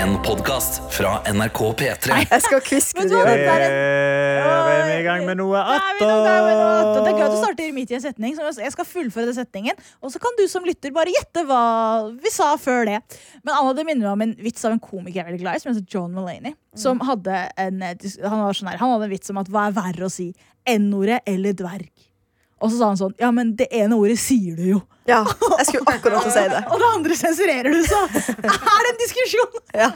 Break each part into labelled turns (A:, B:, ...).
A: En podkast fra NRK P3.
B: Jeg skal kviske
C: Men
B: det.
C: du
B: i
C: har-
B: øret.
D: Er vi i gang med noe
C: Nei, vi er i gang med noe annet. Og Det er gøy at du
D: attåt?
C: starter midt i en setning, så jeg skal fullføre den setningen. Og så kan du som lytter bare gjette hva vi sa før det. Men Anna, det minner meg om en vits av en komiker jeg er veldig glad i, som heter John Mulaney. Som hadde en, eh, dis- han, var sånn her, han hadde en vits om at hva er verre å si? N-ordet eller dverg? Og så sa han sånn, ja, men det ene ordet sier du jo.
B: Ja, jeg skulle akkurat til å si det.
C: Og det andre sensurerer du, så er det en diskusjon!
B: Ja.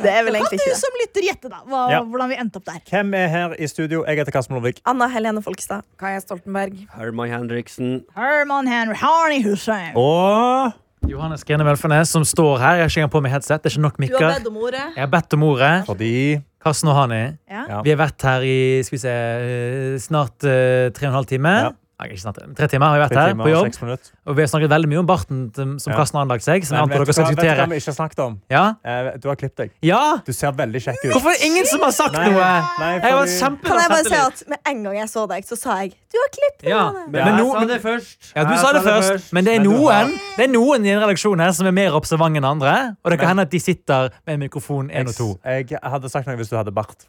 B: Det er vel
C: Kan
B: egentlig
C: du
B: ikke det.
C: som lytter gjette, da, hva,
D: Ja.
C: hvordan vi endte opp der?
D: Hvem er her i studio? Jeg heter Karsten Blomvik.
B: Anna Helene Folkestad.
E: Kaja Stoltenberg.
F: Herman Henriksen.
C: Herman Henry Harney Hussein.
D: Og
G: Johannes Grene Velfernes som står her. Jeg har ikke engang på meg headset. Det er ikke nok mikker.
E: om ordet.
G: Jeg har bedt om ordet.
D: fordi
G: Karsten og Hani,
C: Ja.
D: Ja.
G: vi har vært her i skal vi se, eh, snart eh, tre og en halv time.
D: Ja.
G: Nei, ikke snart, tre timer har vi vært
D: tre
G: her
D: timer
G: på
D: og
G: jobb.
D: seks minutter.
G: Og vi har snakket veldig mye om barten til- som
D: Ja.
G: Karsten har anlagt seg. Som
D: Men
G: jeg antar
D: vet du
G: dere
D: hva
G: skal
D: vet du hva
G: diskutere.
D: vi ikke har snakket om?
G: Ja?
D: Eh, Du har klippet deg.
G: ja?
D: Du ser veldig kjekk ut.
G: Hvorfor er det ingen som har sagt
D: Nei,
G: noe?
D: nei,
G: Jeg var
D: fordi-
G: kjempebra
B: Kan jeg bare si
G: selvtillit.
B: at Med en gang jeg så deg, så sa jeg du har klipp.
G: ja.
F: Men,
D: Ja.
F: jeg
D: Men nå-
F: sa det først.
G: ja, du
F: Jeg
G: sa det først, men det er
D: Men du har-
G: noen Det er noen i en redaksjon her som er mer observant enn andre. Og det kan hende at de sitter med en mikrofon én og to.
D: Jeg jeg hadde sagt noe hvis du hadde bart.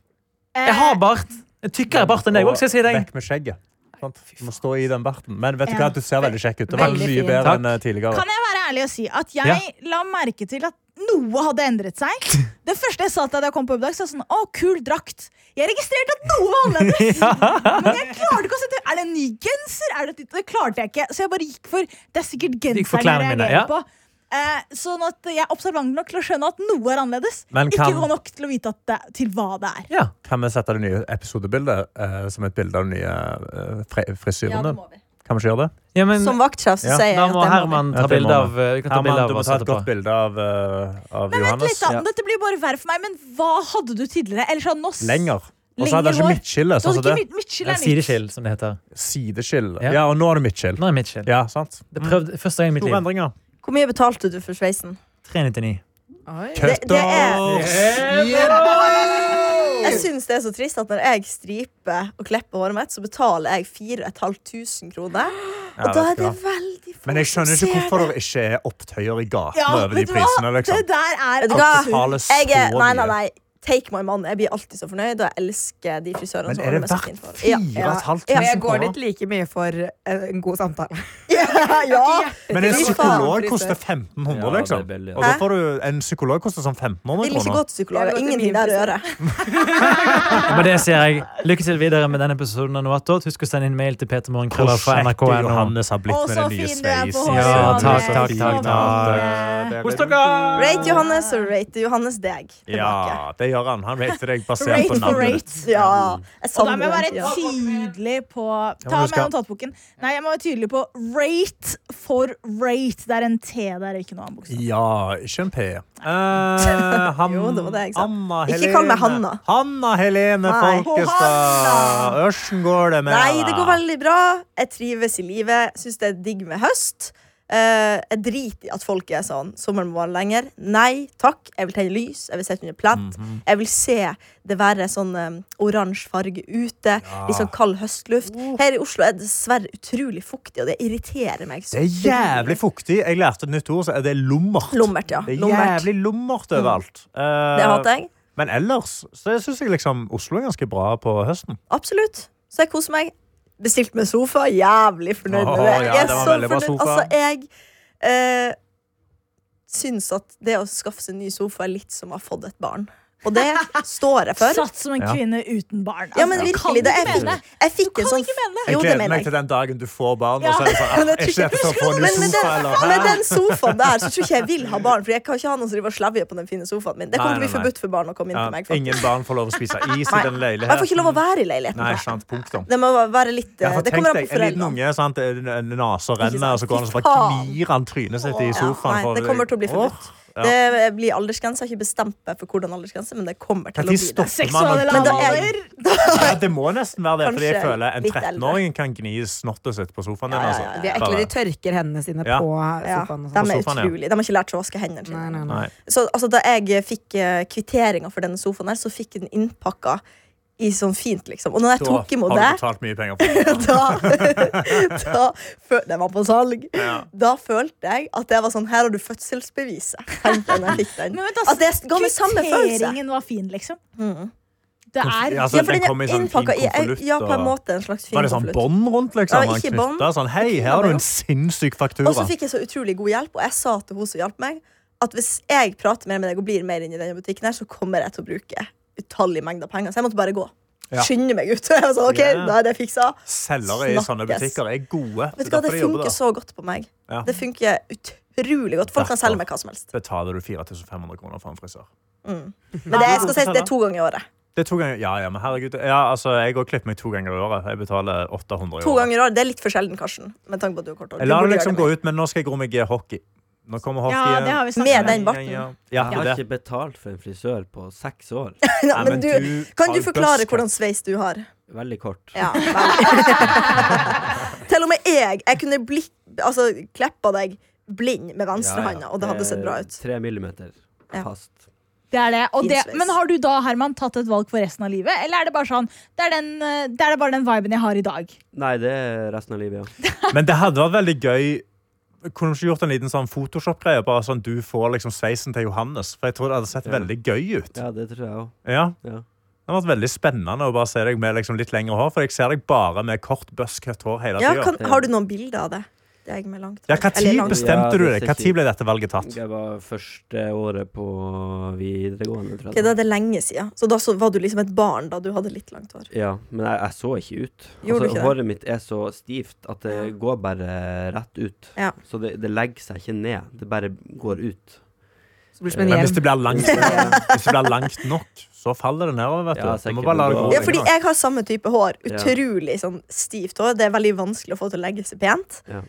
G: Jeg har bart. En tykkere bart enn deg òg, skal jeg si deg.
D: Vekk med skjegget. Sant? Du må stå i den barten. Men vet du
C: Ja.
D: hva, du ser veldig kjekk ut. Det var
E: Veldig
D: mye
E: fin.
D: bedre
G: Takk.
D: enn eh, tidligere.
C: Kan jeg være ærlig og si at jeg
G: Ja.
C: la merke til at noe hadde endret seg? Det første jeg sa til deg da jeg kom på jobb i dag, så var sånn Å, kul drakt. Jeg registrerte at noe var annerledes. Men jeg klarte ikke å sette Er det en ny genser? Er det, et nytt- det klarte jeg ikke. Så jeg bare gikk for Det er sikkert
G: gikk for
C: genseren jeg
G: klærne mine,
C: reagerer
G: ja.
C: på. Eh, sånn at jeg er observant nok til å skjønne at noe er annerledes.
D: Men
C: Ikke
D: kan-
C: god nok til å vite at det, til hva det er.
G: Ja.
D: Kan vi sette det nye episodebildet eh, som et bilde av den nye eh, fri- frisyren din? Kan vi ikke gjøre det?
G: ja, men
B: Som vaktsjef så
D: Ja.
B: sier jeg
G: da
B: at
G: må
B: det må vi.
G: Herman
D: Ja,
G: ta
D: det må
G: bilde av eh, Vi kan ta bilde
D: Herman, du
G: av
D: må
G: oss
D: ta et
G: etterpå.
D: godt bilde av, eh, av
C: Men vent
D: Johannes.
C: litt da, Dette blir bare verre for meg, men hva hadde du tidligere? Eller sånn, nå s-
D: Lenger. Og så hadde han
C: Lenger
D: ikke
C: hår.
D: midtskille.
C: Du
D: Sånn
C: hadde
D: som det.
C: ikke mid- midtskill
G: Eller
C: er nytt.
G: sideskill, som det heter.
D: Sideskill.
G: Ja.
D: Ja, og nå er det midtskill.
G: Nå er det midtskill.
D: Ja, sant?
G: Det prøvde første gang i mitt
D: Store
G: liv.
D: endringer.
B: Hvor mye betalte du for sveisen?
G: 399.
B: Det, det er,
D: Cutters!
B: jeg syns det er så trist at når jeg striper og klipper håret mitt, så betaler jeg 4500 kroner.
D: Ja,
B: Og da er
D: vet du
B: det
D: hva.
B: veldig få
D: Men jeg skjønner
B: som ser
D: ikke hvorfor
B: det.
D: det ikke er opptøyer i gatene
C: Ja,
D: over de
C: vet du hva?
D: prisene. liksom.
C: Det der er
B: Vet du hva?
C: absurd.
D: Betaler så
B: Jeg er, nei, nei,
D: mye.
B: nei. Take my money. Jeg blir alltid så fornøyd, og jeg elsker de frisørene
D: Men
B: som
D: er
B: holder
D: det
B: med så fint hår.
D: verdt 4500
E: Jeg går
D: kroner?
E: dit like mye for eh, en god samtale.
B: Ja, ja.
D: Men en
B: Fy faen,
D: psykolog
E: frisør.
D: koster 1500,
F: Ja, det er
D: liksom.
F: billig.
D: Og da
B: Hæ?
D: får du en psykolog koster sånn
B: Vil
D: 1500
B: ikke gå
D: kroner.
B: til psykolog.
E: Jeg går til
B: Ingenting
E: min
B: der å gjøre.
E: frisør.
G: Med det sier jeg lykke til videre med denne episoden av Noatot. Husk å sende inn mail til petermorgenkrølla fra
D: Prosjektet
G: nrk.no.
D: Johannes har blitt
C: Å,
D: med
C: så
D: den nye
C: fin du er på
D: sveisen.
C: håret,
G: Ja, takk,
C: Johannes.
G: takk,
C: Så
G: takk,
C: fin.
G: takk. Kos dere!
B: Rate Johannes, og rate Johannes deg. Tilbake.
D: Ja, Mm. det gjør han. Han rater deg basert
C: Rate
D: på
C: for
D: navnet ditt.
C: rate.
B: Ja. Jeg
C: Og da må
B: savner
C: jeg være
B: den tida.
C: tydelig på Ta med
D: men du skal-
C: notatboken. Nei, jeg må være tydelig på rate for rate. Det er en T der, ikke noe annen bokstav.
D: Ja, ikke en P. Eh, han,
B: Jo, det var det jeg sa.
D: Anna
B: Ikke
D: Helene.
B: kall meg Hanna.
D: Hanna Helene
B: Nei.
D: Folkestad. Hvordan går det med
B: Nei, det
D: deg?
B: går veldig bra. Jeg trives i livet. Syns det er digg med høst. Eh, jeg driter i at folk er sånn. Sommeren må vare lenger. Nei takk. Jeg vil tenne lys. Jeg vil sitte under plett.
D: Mhm.
B: Jeg vil se det være sånn eh, oransje farge ute. Litt sånn kald høstluft.
D: Uh.
B: Her i Oslo er det dessverre utrolig fuktig, og det irriterer meg. så
D: Det er jævlig
B: utrolig.
D: fuktig. Jeg lærte et nytt ord, så er det lummert.
B: Lommert, ja.
D: Det er
B: Lommert. Mm.
D: jævlig lummert overalt. Eh,
B: Det hater jeg.
D: Men ellers så syns jeg liksom Oslo er ganske bra på høsten.
B: Absolutt. Så jeg koser meg. Bestilt med sofa. Jævlig fornøyd med
D: Åh,
B: det.
D: ja,
B: Jeg er
D: det var
B: så
D: veldig bra
B: fornøyd.
D: sofa.
B: Altså, jeg eh, syns at det å skaffe seg en ny sofa er litt som å ha fått et barn. Og det står jeg for.
C: Satt som en
D: Ja.
C: kvinne uten barn.
B: Ja, men
C: Altså, jeg
B: virkelig, det,
C: kan
B: jeg,
C: ikke mene.
B: fikk, jeg fikk en
C: Kan
B: sånn
C: ikke mene.
B: Jo,
D: Jeg
B: det
D: gleder
B: mener
D: meg til
B: jeg.
D: den dagen du får barn.
C: Ja.
D: Og så er det
B: Men
D: sånn, ah,
B: jeg tror
D: er ikke dette sånn å få en ny
B: Men med
D: sofa,
B: den,
D: eller?
B: med den sofaen der så tror ikke jeg vil ha barn, for jeg kan ikke ha noen som driver og slavjer på den fine sofaen min. Det kommer til å bli
D: Nei, nei, nei.
B: forbudt for barn å komme inn
D: Ja,
B: til meg. faktisk.
D: ingen barn får lov å spise is i
B: Nei. Og jeg får
D: den
B: ikke
D: leiligheten.
B: lov å være i leiligheten.
D: Nei, sant, punktum.
B: Det må være litt eh,
D: Ja, for
B: Det
D: tenk
B: kommer an
D: deg,
B: på
D: en liten
B: foreldrene.
D: unge sant? en- en nesa renner,
B: sant?
D: og så går han og så
B: Fy
D: bare
B: faen.
D: knir han trynet sitt i sofaen.
B: Ja, nei,
D: for-
B: det kommer til å bli
D: Åh,
B: forbudt.
D: ja.
B: Det eh, blir aldersgrense. Jeg har ikke bestemt meg for hvordan aldersgrense, men det kommer
D: Kan
B: til å
D: de
B: bli det.
D: stoppe
C: Seksuelle
D: man-
B: Men da er-
C: lavaller.
D: Ja, det må nesten være det, fordi jeg
B: Kanskje
D: føler en
B: litt eldre.
D: 13-åring kan gni snottet sitt på sofaen din.
B: Ja, ja,
D: Altså.
B: ja,
E: De er ekle. De tørker hendene sine
D: Ja.
E: på
B: Ja,
E: sofaen. og
B: de
E: sånn.
B: er
D: sofaen, ja.
B: utrolig. De har ikke lært seg å vaske hendene
E: Nei,
B: sine.
E: nei, nei.
D: Nei.
B: Så altså, da jeg fikk eh, kvitteringa for denne sofaen, her, så fikk jeg den innpakka i sånn fint, liksom. Og når jeg
D: Da
B: tok imot
D: Har
B: det
D: du betalt mye penger for det?
B: da, da fø- Den var på salg.
D: Ja.
B: Da følte jeg at det var sånn Her har du fødselsbeviset. tenkte jeg når jeg fikk den.
C: Men vent, da,
B: At det ga meg samme følelse.
C: Kvitteringen var fin, liksom.
B: Mm.
C: Det er
D: Ja, altså,
B: Ja, for
D: den
B: den
D: kom i
B: er
D: sånn fin
B: innpakka i
D: konvolutt,
B: Ja, på en
D: og-
B: måte en slags fin
D: Var det sånn
B: konvolutt.
D: bånd rundt, liksom?
B: Ja,
D: Han
B: ikke
D: knyttet
B: bånd.
D: Sånn, Hei, her har du en sinnssyk faktura.
B: Og så fikk jeg så utrolig god hjelp, og jeg sa til hun som hjalp meg, at hvis jeg prater mer med deg og blir mer inn i denne butikken, her, så kommer jeg til å bruke utallige mengder penger. Så jeg måtte bare gå.
D: Ja.
B: Skynde meg ut. Jeg var sånn, ok,
G: Ja.
B: da er det fiksa.
D: Selgere i sånne
B: Snakkes.
D: butikker er gode.
B: Vet du hva,
D: derfor
B: Det
D: de jobber
B: funker
D: der.
B: så godt på meg.
D: Ja.
B: Det funker utrolig godt. Folk kan selge meg hva som helst.
D: Betaler du 4500 kroner for en frisør?
B: Mm. Men det, jeg skal si, at det er to ganger i året.
D: Det er to ganger, ja, ja, men herregud. Ja, altså, jeg går og klipper meg to ganger i året. Jeg betaler 800 i
B: To
D: året.
B: ganger i året, Det er litt for sjelden, Karsten. Med tanke på at du har kort hår.
D: Jeg
B: Du
D: lar
B: burde
D: det
B: gjøre
D: liksom
B: mer.
D: gå ut, men nå skal jeg gro meg i hockey. Nå kommer hockey
C: Ja,
D: igjen.
C: det har vi
B: Med
C: snakket
B: den
C: om.
B: barten.
D: Ja,
F: Jeg har
D: det.
F: ikke betalt for en frisør på seks år.
B: Ja,
D: Nei,
B: men du, kan du
D: har
B: forklare
D: busker.
B: hvordan sveis du har?
F: Veldig kort.
B: Ja, vel. Til og med jeg. Jeg kunne blikk, altså, kleppa deg blind med venstrehånda, og det hadde sett bra ut.
F: Tre millimeter
B: Ja.
F: fast.
C: Det er det. Og
B: Fin
C: det.
B: sveis.
C: Men har du da, Herman, tatt et valg for resten av livet? Eller er det bare sånn Det er, den, eh, det er bare den viben jeg har i dag.
F: Nei, det er resten av livet, ja.
D: Men det hadde vært veldig gøy Kunne du ikke gjort en liten sånn Photoshop-greie? Bare sånn du får liksom sveisen til Johannes. For jeg tror det hadde sett
F: Ja.
D: veldig gøy ut.
F: Ja, det tror jeg òg.
D: Ja.
F: Ja.
D: Det hadde vært veldig spennende å bare se deg med liksom litt lengre hår. For jeg ser deg bare med kort, buskete hår hele
B: Ja,
D: tida.
B: kan, har du noen bilder av det? Det er jeg med langt
D: Ja,
B: hår.
D: hva
B: Eller
D: tid
B: langt-
F: bestemt?
D: bestemte
F: Ja,
D: du
F: det
D: deg?
F: ser
D: Hva
F: kjipt.
D: tid ble dette valget tatt?
F: Det var første året på videregående, tror
B: Ok, da
F: jeg.
B: er det lenge siden. Så da så var du liksom et barn da du hadde litt langt hår.
F: Ja, men jeg, jeg så ikke ut. Altså,
B: Gjorde du ikke det?
F: håret mitt er så stivt at det går bare rett ut.
B: Ja.
F: Så det, det legger seg ikke ned. Det bare går ut.
E: Så blir det som en
D: Men hvis
E: hjelm.
D: det blir langt, hvis det blir langt nok, så faller det nedover. vet du.
F: Ja,
D: du må
F: sikkert,
D: bare la det
F: men
D: gå.
F: da-
B: Ja, fordi jeg har samme type hår.
F: Ja.
B: Utrolig sånn stivt hår. Det er veldig vanskelig å få til å legge seg pent.
F: Ja.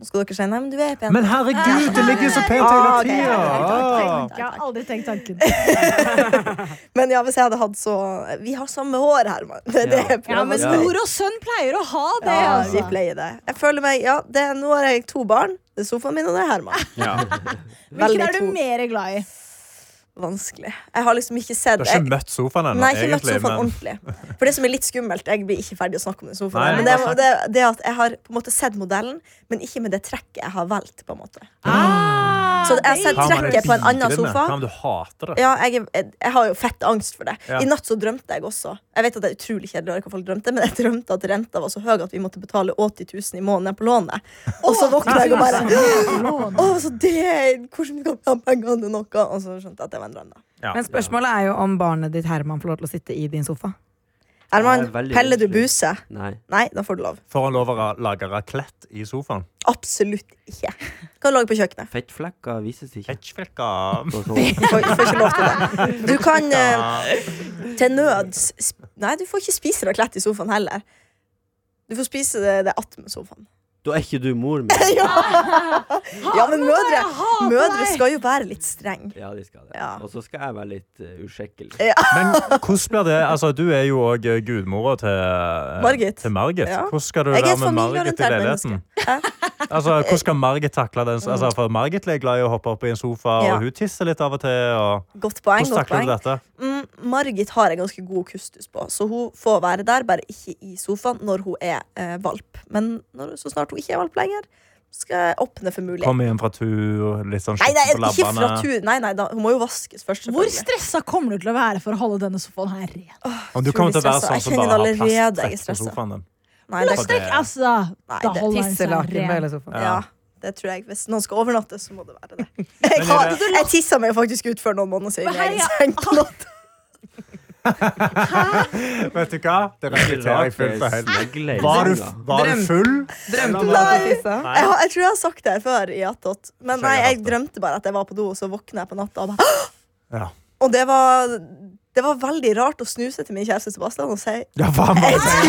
B: Nå skal dere si nei, men du er pen.
D: Men herregud, det ligger jo så pent hele
B: Ah,
D: Ah.
B: ok,
D: tida!
B: ok, ok,
C: Jeg har
B: ok.
C: aldri tenkt tanken.
B: Men ja, hvis jeg hadde hatt så Vi har samme hår, Herman. Det, er det jeg
C: Ja,
B: prøver å
C: men
B: si.
F: Ja.
C: mor og sønn pleier å ha det.
B: Ja, vi
C: altså.
B: pleier det. Jeg føler meg, ja, det, er- Nå har jeg to barn. Det er sofaen min, og det er Herman.
C: Hvilken
B: Veldig
C: er
B: to.
C: du mer glad i?
B: Vanskelig. Jeg har liksom ikke sett
D: Du har
B: jeg,
D: ikke møtt sofaen ennå,
B: Nei, ikke møtt
D: egentlig.
B: sofaen
D: Men
B: ordentlig. For det som er litt skummelt, jeg blir ikke ferdig å snakke om den sofaen.
D: Nei,
B: her, men det,
D: bare
B: er- det, er- det er at jeg har på en måte sett modellen, men ikke med det trekket jeg har valgt. på en måte
C: Ah.
B: Så jeg har sett
D: Hva om du
B: trekket på en annen
D: liker det?
B: sofa.
D: Hva om du hater det?
B: Ja, jeg, er- jeg, jeg har jo fett angst for det.
D: Ja.
B: I natt så drømte jeg også. Jeg vet at det er utrolig kjedelig å høre hva folk drømte, men jeg drømte at renta var så høy at vi måtte betale 80 000 i måneden på lånet. Og så våkna jeg og bare Å, så det Hvordan kan vi ha pengene til noe? Og så skjønte jeg at det var en drøm, da.
D: Ja.
E: Men spørsmålet er jo om barnet ditt Herman får lov til å sitte i din sofa.
B: Herman,
F: Det er veldig
B: peller du
F: vanskelig.
B: buse?
F: Nei.
B: Nei, da får du lov.
D: Får han lov å ra- lage raclette i sofaen?
B: Absolutt ikke. Kan du lage på kjøkkenet.
F: Fettflekker vises ikke. sånn-
D: Ketchfekka.
F: Og så-
B: Du får, du får ikke lov til det. Du kan eh, til nøds sp Nei, du får ikke spise raclette i sofaen heller. Du får spise det, det attmed sofaen.
F: Da er ikke du mor mi.
B: Ja, ja men mødre,
C: hater
B: mødre
C: deg!
B: skal jo være litt streng
F: Ja, de skal det.
B: Ja.
F: Og så skal jeg være litt eh, uskikkelig.
D: Men hvordan blir det? Altså, du er jo òg gudmora til eh,
B: Margit.
D: Til Margit.
B: Ja.
D: Hvordan skal du
B: Jeg er
D: være
B: et
D: med Margit i
B: familieorientert
D: leiligheten?
B: menneske.
D: Altså,
B: Eh,
D: hvordan skal Margit takle den? Altså, for Margit er glad i å hoppe opp i en sofa,
B: Mm. Ja.
D: og hun tisser litt av og til. Og...
B: Godt poeng.
D: Hvordan
B: Godt
D: takler
B: poeng.
D: du dette?
B: Mm, Margit har jeg ganske god kustus på, så hun får være der, bare ikke i sofaen når hun er eh, valp. Men når, så snart hun ikke er valp lenger, skal jeg åpne for mulighet.
D: Kom igjen fra tur, litt sånn
B: Nei, nei,
D: skitten på
B: ikke fra
D: labbene.
B: tur. Nei, nei, da, hun må jo vaskes først.
C: Hvor
B: selvfølgelig.
C: stressa kommer du til å være for å holde denne sofaen her ren?
D: Om du kommer til å være
B: Utrolig
D: sånn som
B: stressa. Jeg
D: bare har
B: kjenner allerede jeg er
D: plasttrekk på
B: stressa.
D: sofaen din.
B: Nei, det,
D: Plastikk.
C: Plastikk, altså!
B: Nei,
C: Da
B: det-
C: holder den seg
E: Tisselaken på
C: ren.
E: hele sofaen.
B: ja, det tror jeg. Hvis noen skal overnatte, så må det være det.
D: er
B: Jeg, har,
D: det-
B: jeg tissa meg faktisk ut før noen måneder siden.
C: Men hei,
B: Jeg er i seng på natt.
D: Vet du hva? Det reflekterer jeg fullt og helt.
F: Snegle i
D: Var du,
F: senga.
D: var du
E: Drøm.
D: full?
E: Drømte du at du tissa?
B: Jeg, har- jeg tror jeg har sagt det her før i Attot, men
D: Skjønner
B: nei, jeg
D: jeg hatt
B: drømte bare at jeg var på do, og så våkna jeg på natta. Og, bare,
D: Ja.
B: og det var det var veldig rart å snu seg til min kjæreste Sebastian og si
D: Ja, hva må jeg si?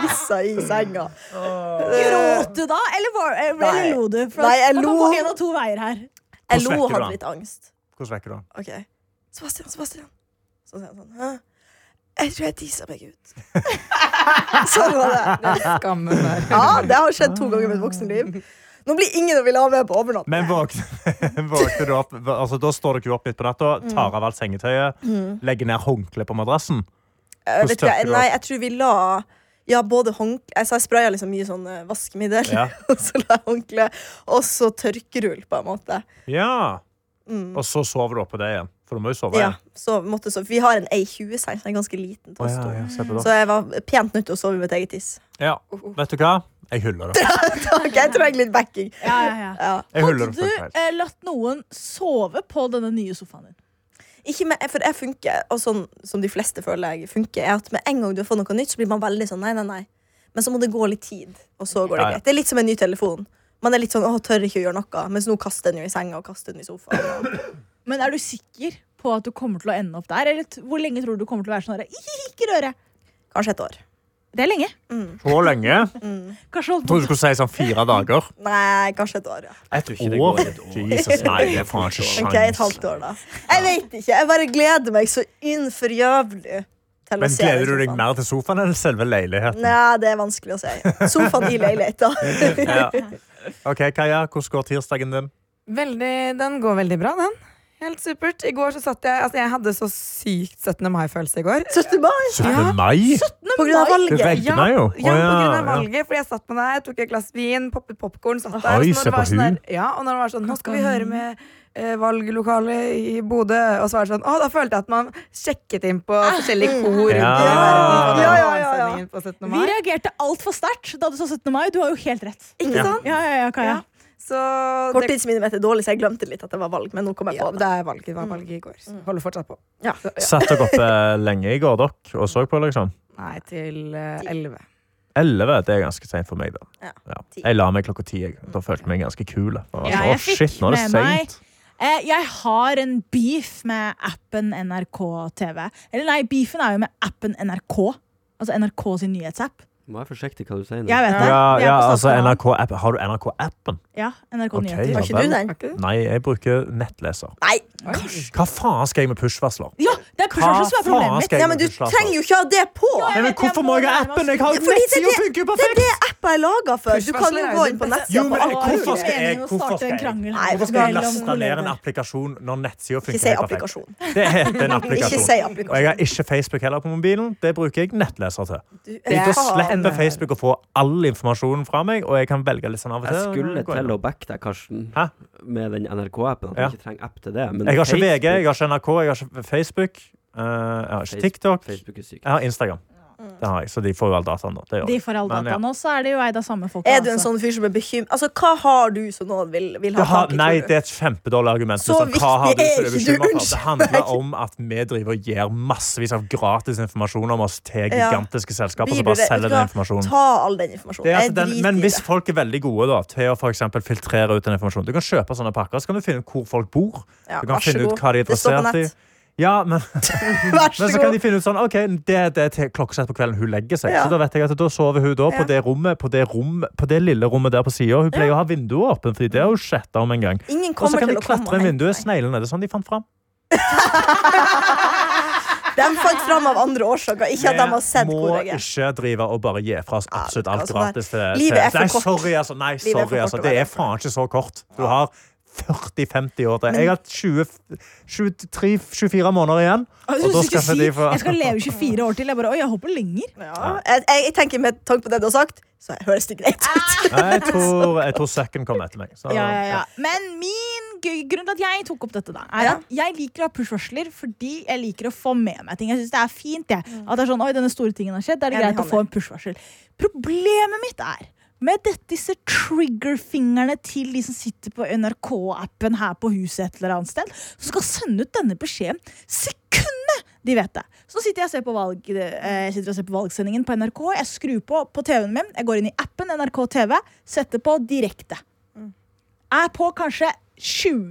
B: tissa i senga.
C: Gråt du da, eller, var, eller
B: Nei.
C: lo du? For
B: Nei, jeg
C: man kan
B: lo.
C: gå en av to veier her.
B: Jeg lo
D: vekker
B: og
D: du
B: hadde
D: han?
B: litt angst.
D: Hvordan vekker du han?
B: Ok, Sebastian, Sebastian. Så sier han sånn Hæ? Jeg tror jeg tissa meg ut. sånn var det.
E: Skammen der.
B: Ja, det har skjedd to ganger i mitt voksne liv. Nå blir ingen å ville ha med på overnatt.
D: Men våkner, våkner du opp altså, Da står dere jo opp midt på natta,
B: Mm.
D: tar av alt sengetøyet, legger ned håndkleet på madrassen.
B: Eh, vet du,
D: tørker
B: hva,
D: du
B: nei,
D: opp?
B: jeg tror vi la ja, både håndkle altså, Jeg spraya liksom mye sånn eh, vaskemiddel,
D: Ja.
B: og så la jeg håndkle, og så tørkerull, på en måte.
D: ja.
B: Mm.
D: Og så sover du oppå det igjen. For du må jo sove
B: Ja,
D: igjen.
B: så måtte så, for Vi har en A20-seng, så den er ganske liten. til
D: Å,
B: oss
D: ja,
B: to.
D: ja, se på det.
B: Så jeg var pent nødt til å sove i mitt eget tiss.
D: Ja. Vet du hva? Jeg hyller det.
B: Ok, jeg trenger litt backing.
C: Ja, ja, ja.
B: Ja.
D: Jeg hyller
C: Hadde du
D: det fullt helt.
C: eh, latt noen sove på denne nye sofaen din?
B: Ikke med, for jeg funker, og sånn som de fleste føler jeg funker, er at med en gang du har fått noe nytt, så blir man veldig sånn nei, nei, nei. Men så må det gå litt tid, og så går det
D: Ja, ja.
B: greit. Det er litt som en ny telefon. Man er litt sånn 'Å, tør ikke å gjøre noe', mens nå kaster den jo i senga og kaster den i sofaen.
C: Men er du sikker på at du kommer til å ende opp der? Eller t- hvor lenge tror du du kommer til å være sånn? der, «Ikke- Ikke røre!
B: Kanskje et år.
C: Det er lenge.
D: Så lenge?
C: Kanskje holdt
D: Jeg trodde du skulle si sånn fire dager.
B: Nei, kanskje et år, ja.
D: Et
F: ikke det går i et år.
D: Jesus, nei, det er faen altså. ikke
B: Ok, et
D: sjans.
B: halvt år, da. Jeg vet ikke. Jeg bare gleder meg så innfor jævlig til å
D: Men
B: se den
D: gleder du deg
B: sofaen.
D: mer til sofaen enn selve leiligheten?
B: liksom. Nei, det er vanskelig å si. Sofaen i leiligheta.
D: Ja. Ok, Kaja, hvordan går tirsdagen din?
E: Veldig, den går veldig bra, den. Helt supert. I går så satt jeg Altså, jeg hadde så sykt 17. mai-følelse i går.
B: 17. mai!
D: 17. mai?
B: På grunn av
D: Det
B: valget.
E: Ja,
D: regner jo. Å,
E: ja, på grunn av
D: ja.
E: valget, fordi jeg satt med deg, tok et glass vin, poppet popcorn, satt der.
D: Oi,
E: så når
D: se
E: det var
D: på
E: sånn
D: hun.
E: der, ja, og når det var sånn, nå skal vi høre med eh, valglokalet i Bodø, og så var det sånn, å, da følte jeg at man sjekket inn på forskjellige kor rundt i
D: Ja.
B: Ja, ja,
E: verden.
B: ja, ja.
E: Morgensendingen På 17.
C: Vi
E: mai.
C: reagerte altfor sterkt da du sa 17. mai. Du har jo helt rett.
E: Ikke sant?
C: Ja, ja, ja, Kaja.
E: Ja. Så det,
B: Korttidsminnet mitt er dårlig, så jeg glemte litt at det var valg. Men nå kom jeg
E: ja,
B: på det.
E: det er valget, det var valget i går. så Holder fortsatt på.
B: Ja.
E: Så, ja.
D: Satt dere oppe eh, lenge i går, dere, og så på, liksom?
E: Nei, til eh, 11.
D: 11, det er ganske sent for meg, da.
B: Ja, ti.
D: Jeg la meg klokka 10. jeg. Da følte jeg meg ganske kul. da. Jeg var
C: Ja,
D: sånn,
C: jeg
D: «Å,
C: fikk
D: shit, nå er det
C: med meg-
D: sent.
C: Eh, jeg har en beef med appen NRK TV. Eller nei, beefen er jo med appen NRK. Altså NRK sin nyhetsapp.
F: Du må være forsiktig hva du sier nå.
C: Jeg vet det.
D: Ja,
C: Vi er
D: ja,
C: på
D: altså
C: statskanalen.
D: NRK-appen. Har du NRK-appen?
C: Ja, NRK
D: Ok,
C: Nyheter.
D: ja.
B: Har ikke du den?
D: Nei, jeg bruker nettleser.
B: Nei,
D: Hva faen skal jeg med pushvarsler?
C: Ja, det er pushvarsel som er problemet mitt.
B: ja, men du trenger jo ikke ha det på!
C: jeg
D: Nei, men
C: vet, jeg
D: Hvorfor må jeg ha
C: må
D: appen? Jeg
C: være
D: har
B: med
D: jo
B: oss. Fordi det-
D: nettsida funker jo
B: Det er
D: perfekt!
B: det appa er laga for! Du kan
E: Pushvarsler
B: jo
E: er jo
B: gå
E: det
B: inn på
E: beste.
B: nettsida
D: Jo,
B: på
D: men
B: alle
D: hvorfor
B: mulige.
D: skal jeg-
C: Meningen å
D: hvorfor skal
C: starte en
D: jeg-
C: krangel
B: Nei,
C: her.
D: Hvorfor skal jeg
B: Mellom
D: laste ned en
C: kollegaer.
D: applikasjon når nettsida
B: Ikke
D: funker
B: si
D: helt perfekt?
B: applikasjon.
D: Det heter en
B: Ikke
D: applikasjon.
B: si
D: Og jeg
B: applikasjon.
D: har ikke Facebook heller på mobilen. Det bruker jeg nettleser til.
B: Du,
E: er
D: Da
E: faen.
D: slipper Facebook å få all informasjonen fra meg, og jeg kan velge litt sånn av og til.
F: Jeg skulle
D: Gå inn.
F: til å backe deg, Karsten,
D: Hæ?
F: med den NRK-appen. At du
D: Ja.
F: ikke trenger app til det. Men
D: Jeg har ikke VG, jeg
F: Facebook-
D: har ikke NRK, jeg har ikke Facebook. eh, jeg har ikke
F: Facebook-
D: TikTok.
F: Facebook er syk.
D: Jeg har Instagram.
B: Mm.
D: Det har jeg, så de får jo all dataen, da. Det gjør
C: De
D: jeg.
C: får all
D: Men, ja.
C: dataen, og så er det jo ei av samme folka.
B: er du en
C: altså.
B: sånn fyr som er bekymra? Altså, hva har du som noen vil, vil ha
D: Det har,
B: tak i?
D: nei,
B: tror du?
D: det er et kjempedårlig argument.
B: Så
D: Liksom, hva har
B: viktig
D: du
B: er
D: som er
B: ikke du,
D: bekymret for? Det
B: unnskyld
D: handler om at vi driver og gir massevis av gratis informasjon om oss til
B: Ja.
D: gigantiske selskaper
B: Blir du
D: som bare
B: det- vet du
D: selger
B: hva?
D: den informasjonen.
B: Ta all den informasjonen.
D: Det er
B: Jeg
D: at den,
B: driter
D: men
B: i
D: hvis
B: det.
D: folk er veldig gode da, til å for eksempel filtrere ut den informasjonen Du kan kjøpe sånne pakker, så kan du finne ut hvor folk bor.
B: Ja,
D: Du
B: vær
D: kan
B: så
D: finne ut
B: god.
D: hva de er
B: Det står på
D: interessert i.
B: nett.
D: Ja, men,
B: Vær så
D: men så
B: god.
D: kan de finne ut sånn OK, det, det er til klokkesett på kvelden hun legger seg.
B: Ja.
D: Så da vet jeg at da sover hun da på
B: Ja.
D: det rommet, på det, rom, på det lille rommet der på sida. Hun pleier å ha vinduet åpent, fordi det har hun sjetta om en gang.
B: Ingen
D: Og så
B: kommer
D: kan
B: til
D: de
B: å komme
D: klatre
B: og
D: inn
B: hente
D: vinduet,
B: meg.
D: snegle ned. Det er sånn de fant fram.
B: De fant fram av andre årsaker, ikke at de har sett
D: må
B: hvor jeg er.
D: ikke drive og bare gi fra oss absolutt
B: Ja,
D: alt
B: altså,
D: gratis. Til, til.
B: livet er for
D: nei,
B: kort.
D: sorry, altså. Nei,
B: er for
D: sorry,
B: kort
D: altså.
B: å
D: Det
B: være
D: er faen ikke så kort. Du har 40-50 år til. Jeg har 20 23-24 måneder igjen.
C: Jeg
D: Og da
C: synes ikke
D: skaffer
C: si,
D: de for-
C: Jeg skal leve 24 år til. Jeg bare, oi, jeg håper lenger.
B: Ja. Jeg, jeg, jeg tenker Med tanke på det du har sagt, så høres det greit ut.
D: Nei, jeg tror, jeg tror søkken kommer etter meg. Så,
C: Ja, ja, ja. Men min gu- grunn til at jeg tok opp dette, da, er
B: Ja.
C: at jeg liker å ha push-varsler fordi jeg liker å få med meg ting. Jeg synes det er fint jeg. At det er sånn, oi, denne store tingen har skjedd. Da er det
B: Enig,
C: greit å
B: Hanne.
C: få en push-varsel. Problemet mitt er med dette, disse triggerfingrene til de som sitter på NRK-appen her på huset et eller annet sted, som skal sende ut denne beskjeden sekundet de vet det. Så sitter jeg og ser på, valg, eh, jeg sitter og ser på valgsendingen på NRK. Jeg skrur på på TV-en min. Jeg går inn i appen NRK TV, setter på direkte er på kanskje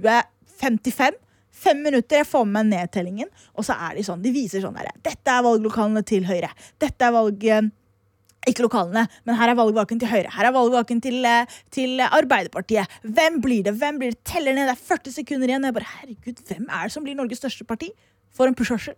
C: 20.55. Fem minutter, jeg får med meg nedtellingen, og så er de sånn. De viser sånn derre Dette er valglokalene til Høyre. Dette er valg... eh, Ikke lokalene, men her er valgvaken til Høyre. Her er valgvaken til, eh, til eh, Arbeiderpartiet. Hvem blir det? Hvem blir det? Teller ned, det er 40 sekunder igjen. Jeg bare, herregud, Hvem er det som blir Norges største parti? For en push-varsel.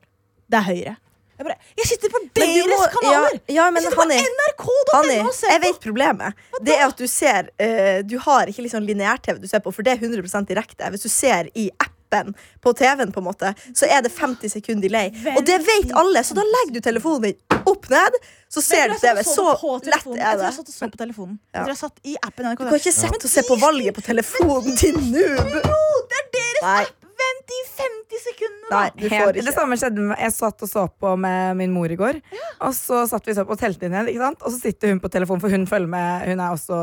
C: Det er Høyre. Jeg Jeg, bare, jeg sitter på
B: Men du
C: deres
B: må-
C: kanaler!
B: Ja, ja, men
C: jeg sitter
B: han
C: på
B: er
C: nrk.no
B: Hanni,
C: og ser
B: jeg
C: på!
B: vet problemet. Det er at Du ser eh, Du har ikke liksom lineær-TV du ser på, for det er 100 direkte. Hvis du ser i appen på TV-en, på en måte så er det 50 sekunder delay. Og det vet alle, så da legger du telefonen din opp ned, så
C: Jeg
B: ser
C: tror
B: du
C: jeg satt
B: TV.
C: og
B: Så
C: det på
B: lett
C: telefonen.
B: er det.
C: Jeg tror jeg satt og så på telefonen.
B: Ja.
C: Jeg tror jeg satt i appen NRK.
B: Du kan ikke sette og se på valget på telefonen din, noob!
C: Jo, det er deres
B: Nei.
C: app! Vent i 50 sekunder, da!
B: Nei, du
E: Helt-
B: får
E: Det
B: ikke.
E: samme skjedde med Jeg satt og så på med min mor i går. Og så satt vi så på teltlinjen, ikke sant? og så sitter hun på telefonen, for hun følger med Hun er også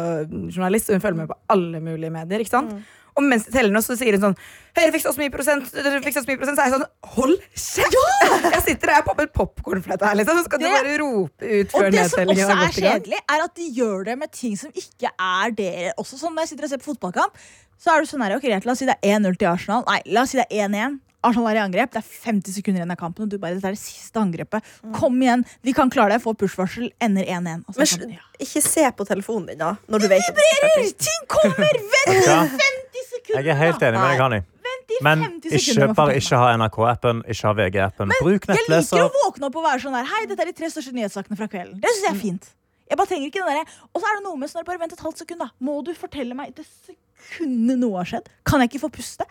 E: journalist, og hun følger med på alle mulige medier. ikke sant? Og mens de teller nå, så sier hun sånn Høyre fiksa så mye prosent, dere fiksa så mye prosent. Så er jeg sånn Hold kjeft! Jeg sitter her, jeg popper popkornflette her, liksom. Så skal du
C: Det-
E: bare rope ut
C: Og
E: før
C: det som
E: nedtellingen
C: også
E: har
C: er
E: gått i gang.
C: kjedelig, er at de gjør det med ting som ikke er dere. Også sånn Når jeg sitter og ser på fotballkamp, så er det sånn her ok, greit, La oss si det er 1-0 til Arsenal. Nei, la oss si det er 1-1. Arsenal er i angrep. Det er 50 sekunder igjen av kampen, og du bare Dette er det siste angrepet. Kom igjen, vi kan klare det. Få push-varsel. Ender 1-1. Og
B: Mm.
C: så
B: Men
C: er kampen-
B: sl- ikke se på telefonen din, da. Når du vet at du skal starte.
C: ja. Ting kommer! Vent i
D: Ja.
C: 50 sekunder!
D: Jeg er helt enig med deg, Hani.
C: Vent i
D: Men
C: 50 sekunder
D: ikke
C: med
D: bare
C: fotball.
D: ikke ha NRK-appen, ikke ha VG-appen. Bruk
C: Jeg liker
D: nettleser.
C: å våkne opp og være sånn der Hei, dette er de tre største nyhetssakene fra kvelden. Det synes jeg er
D: Mm.
C: fint. Jeg bare trenger ikke den der. Og så er det noe med sånn der, bare vent et halvt sekund, da. Må du fortelle meg det sekundet noe har skjedd? Kan jeg ikke få puste?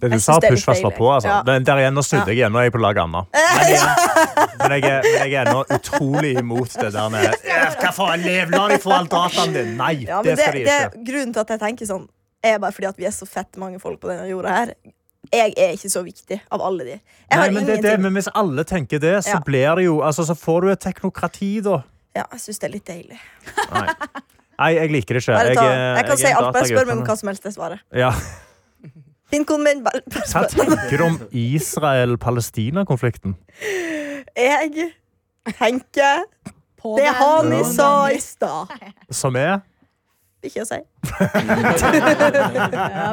D: Det du
B: Jeg synes
D: sa,
B: det er litt
D: pushvarsler
B: deilig.
D: på. Altså.
B: Ja.
D: Den- Der igjen, nå snudde jeg igjen. Nå er jeg på lag Anna. Men jeg- Men jeg er- men jeg er ennå utrolig imot det der med «Eh, Hva faen, lev, la de få all dataen din! Nei,
B: Ja, men
D: det skal de ikke.
B: grunnen til at jeg tenker sånn, er bare fordi at vi er så fett mange folk på denne jorda her. Jeg er ikke så viktig av alle de. Jeg har
D: Nei, men, det, er
B: ingenting.
D: det, men Hvis alle tenker det, så
B: Ja.
D: blir det jo altså, Så får du et teknokrati, da.
B: Ja, jeg syns det er litt deilig.
D: Nei, Nei jeg liker det ikke.
B: Bare
D: Jeg,
B: ta,
D: er-
B: jeg kan
D: er
B: si
D: en
B: alt. Bare
D: datagutt,
B: spør meg om
D: men-
B: hva som helst, jeg svarer.
D: Ja.
B: Finn koden min, bare bare
D: Hva
B: spør.
D: tenker du om Israel-Palestina-konflikten?
B: Jeg tenker
C: På
B: det
C: den-
B: Hani
D: Ja.
B: sa i stad.
D: Som er
B: Ikke å si.
C: Ja,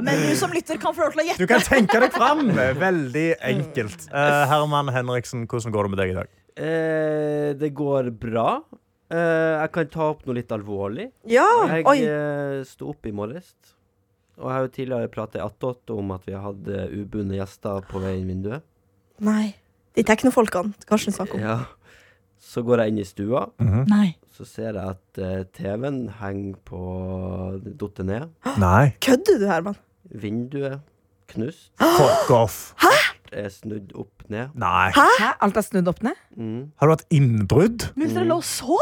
C: men du som lytter, kan få lov til å gjette.
D: Du kan tenke deg fram! Veldig enkelt. Eh, Herman Henriksen, hvordan går det med deg i dag?
F: Eh, det går bra. Eh, jeg kan ta opp noe litt alvorlig.
B: Ja, Ah, oi.
F: Jeg eh, sto opp i morges, og jeg har jo tidligere pratet attåt om at vi har hatt eh, ubundne gjester på vei inn vinduet.
B: Nei. De teknofolkene Karsten snakker om.
F: Ja. Så går jeg inn i stua,
C: Nei.
F: så ser jeg at eh, TV-en henger på Datt ned.
D: Nei.
B: Kødder du, Herman?
F: Vinduet knust.
D: Fuck off.
F: Er snudd opp ned.
D: Nei.
E: Hæ? Alt er snudd opp ned?
F: Mm,
D: Har du hatt innbrudd?
C: Mens dere lå og sov?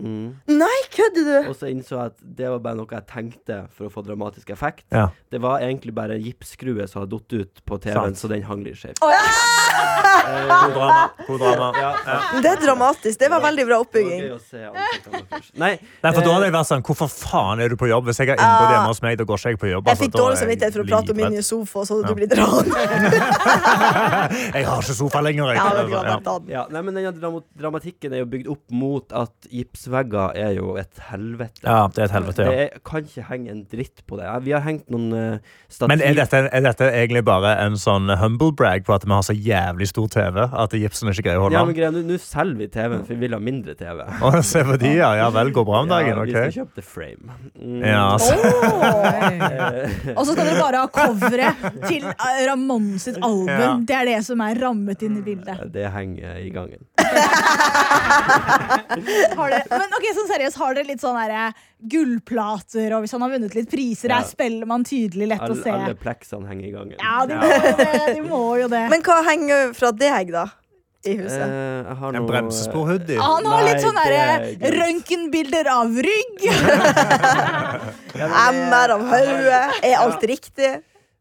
F: mm.
B: Nei, kødder du?
F: Og så innså jeg at det var bare noe jeg tenkte for å få dramatisk effekt.
D: Ja.
F: Det var egentlig bare en gipsskrue som hadde datt ut på TV-en,
D: Sant.
F: så den hang litt skjevt.
D: God drama. God drama.
B: Det er dramatisk. Det var veldig bra oppbygging.
F: Det var gøy å se ansiktene deres. Nei,
D: Nei, for da
F: eh,
D: hadde jeg vært sånn, Hvorfor faen er du på jobb? Hvis jeg har innbrudd hjemme hos meg, da går ikke jeg på jobb.
B: Ah. Jeg
D: altså.
B: fikk
D: Da er
B: dårlig samvittighet for å prate om min nye
D: livredd.
B: sofa, så du blir dratt.
D: Jeg har ikke sofa lenger. Jeg.
B: Ja, vet du hva,
D: Ja.
B: bare ta den.
F: ja, nei, men denne drama dramatikken er jo bygd opp mot at gipsvegger er jo et helvete.
D: Ja, det er et helvete,
F: Det
D: ja.
F: er, kan ikke henge en dritt på det. Ja, Vi har hengt noen eh, stativ
D: Men er dette, er dette egentlig bare en sånn humble brag på at vi har så jævlig stor TV at gipsen ikke greier å
F: Ja, men
D: holde den?
F: greia, nå- Nå selger vi TV-en, for vi vil ha mindre TV.
D: Å, se på de, ja. Ja vel, går bra om dagen.
F: Ja, vi skal
D: ok.
F: kjøpe The Frame. Mm.
D: Ja, altså.
C: Og så skal dere bare ha coveret til eh, Ramon sitt album.
D: Ja.
C: Det er det som er rammet inn i bildet.
F: Det henger i gangen.
C: Har det, men ok, sånn seriøst, har dere litt sånn her, gullplater, og hvis han har vunnet litt priser,
F: Ja.
C: er spellemann tydelig lett
F: Alle,
C: å se?
F: alle pleksene henger i gangen.
C: Ja, de må jo det. De må jo det.
B: Men hva henger fra deg, da? I huset?
F: Eh, jeg
D: En
F: har noe-
D: bremsesporhoodie.
F: Ah.
C: han har litt sånn
F: Nei,
C: her,
F: det er greit.
C: røntgenbilder av rygg.
B: MR av hodet? Er alt riktig?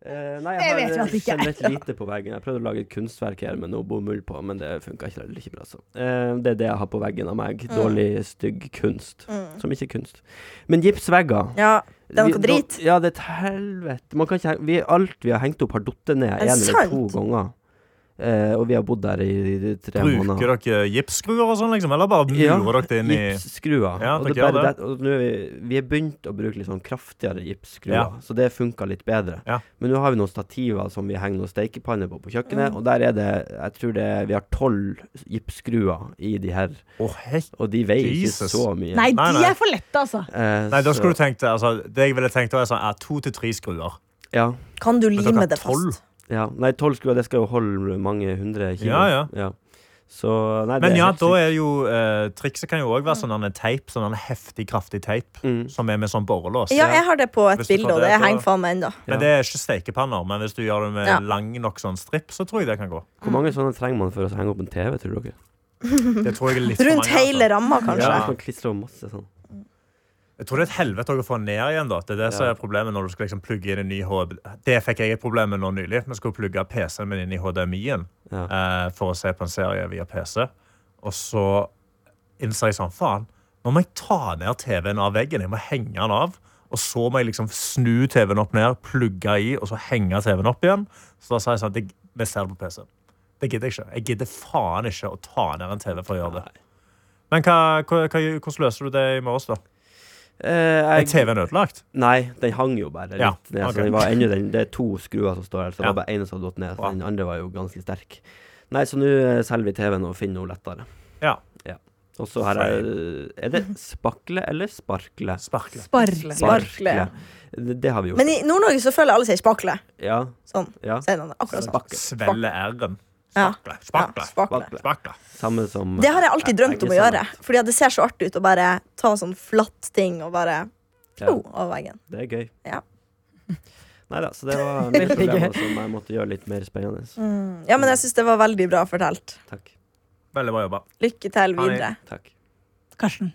F: Eh, nei,
C: Jeg
F: jeg
C: vet jo
F: har
C: at det ikke er
F: generelt lite på veggen. Jeg prøvde å lage et kunstverk her med noe bomull på, men det funka ikke heller ikke bra. Så. Eh, det er det jeg har på veggen av meg.
C: Mm.
F: Dårlig, stygg kunst. Som ikke er kunst. Men gipsvegger
B: Ja. Det er noe
F: Vi-
B: drit.
F: da- Ja, det er et helvete. Man kan ikke, heng- vi, alt vi har hengt opp, har falt ned
B: det
F: én eller to
B: sant?
F: ganger. Eh, og vi har bodd der i, i tre måneder.
D: Bruker dere gipsskruer og sånn, liksom? Eller bare murer dere det inn i
F: gipsskruer.
D: Ja,
F: og
D: dere
F: det er
D: gjør
F: bare
D: det.
F: det, og nå er vi, vi er begynt å bruke litt sånn kraftigere gipsskruer,
D: Ja.
F: så det funka litt bedre.
D: Ja.
F: Men nå har vi noen stativer som vi henger noen stekepanner på på
B: Mm.
F: kjøkkenet, og der er det Jeg tror det vi har tolv gipsskruer i de her,
D: Å, hei.
F: og de veier
D: Jesus.
F: ikke så mye.
C: Nei,
D: Nei,
C: de
D: nei.
C: er for lette, altså.
F: Eh,
D: Nei, da
F: så-
D: skulle du tenkt altså, Det jeg ville tenkt, var sånn, ja, to til tre skruer.
F: Ja.
B: Kan du
D: Men dere
B: lime
D: har
B: det fast?
D: tolv.
F: ja. Nei, tolv skruer, det skal jo holde mange hundre kilo.
D: Ja, ja.
F: Så nei, det
D: Men
F: er
D: ja,
F: helt
D: da
F: sykt.
D: er jo eh, Trikset kan jo òg være sånn en teip, sånn en heftig, kraftig teip
F: Mm.
D: som er med sånn borrelås.
B: Ja, jeg har det på et
D: Hvis du tar
B: bilde, og
D: det
B: det
D: på-
B: henger faen meg ennå.
D: Men det er ikke stekepanner. Men hvis du gjør det med
B: Ja.
D: lang nok sånn stripp, så tror jeg det kan gå.
F: Hvor mange sånne trenger man for å henge opp en TV, tror dere?
B: Mhm.
D: Det tror jeg er litt for
B: Rundt
D: mange, altså.
B: hele ramma, kanskje.
F: Ja,
D: Ja.
F: hvis man klistrer opp masse sånn.
D: Jeg tror det er et helvete å få den ned igjen. da. Det er det som
F: Ja.
D: er problemet når du skal liksom plugge inn en ny HD. Det fikk jeg et problem med nå nylig. Vi skulle plugge PC-en min inn i HDMI-en
F: Ja.
D: eh, for å se på en serie via PC. Og så innså jeg sånn, faen, nå må jeg ta ned TV-en av veggen. Jeg må henge den av. Og så må jeg liksom snu TV-en opp ned, plugge i, og så henge TV-en opp igjen. Så da sa jeg sånn, det, vi ser det på PC. Det gidder jeg ikke. Jeg gidder faen ikke å ta ned en TV for å gjøre det. Men hva, hva, hva, hvordan løser du det i morges, da?
F: Eh,
D: Er
F: jeg,
D: TV-en ødelagt?
F: nei, den hang jo bare litt
D: Ja,
F: ned.
D: ok.
F: Så den var ennå den, det er to skruer som står her, så det
D: Ja.
F: var bare ene som hadde datt ned.
D: Wow.
F: Så den andre var jo ganske sterk. Nei, så nå eh, selger vi TV-en og finner noe lettere.
D: Ja.
F: Og så her er, eh, er det spakle eller sparkle?
D: Sparkle.
C: Sparle.
B: Sparkle.
F: Det, det har vi gjort.
B: Men i Nord-Norge så føler jeg alle sier spakle.
F: ja.
B: Sånn.
F: ja.
B: Sier de det. Akkurat sånn.
F: Spakke.
D: Svelle R-en.
B: Ja.
D: Sparkle.
B: Ja,
D: Sparkle.
B: spakle.
F: Sparkle.
D: Sparkle.
F: Samme som
B: Det har jeg alltid drømt om å
F: Ikke sant.
B: gjøre. Fordi at det ser så artig ut å bare ta sånn flatt ting og bare
F: Ja.
B: flo over veggen.
F: Det er gøy.
B: Ja.
F: Nei da, så det var mine
E: Veldig gøy.
F: problemer som jeg måtte gjøre litt mer spennende.
C: Mm.
B: Ja, men jeg syns det var veldig bra fortalt.
F: Takk.
D: Veldig bra jobba.
B: Lykke til
D: Hei.
B: videre.
F: Takk.
C: Karsten.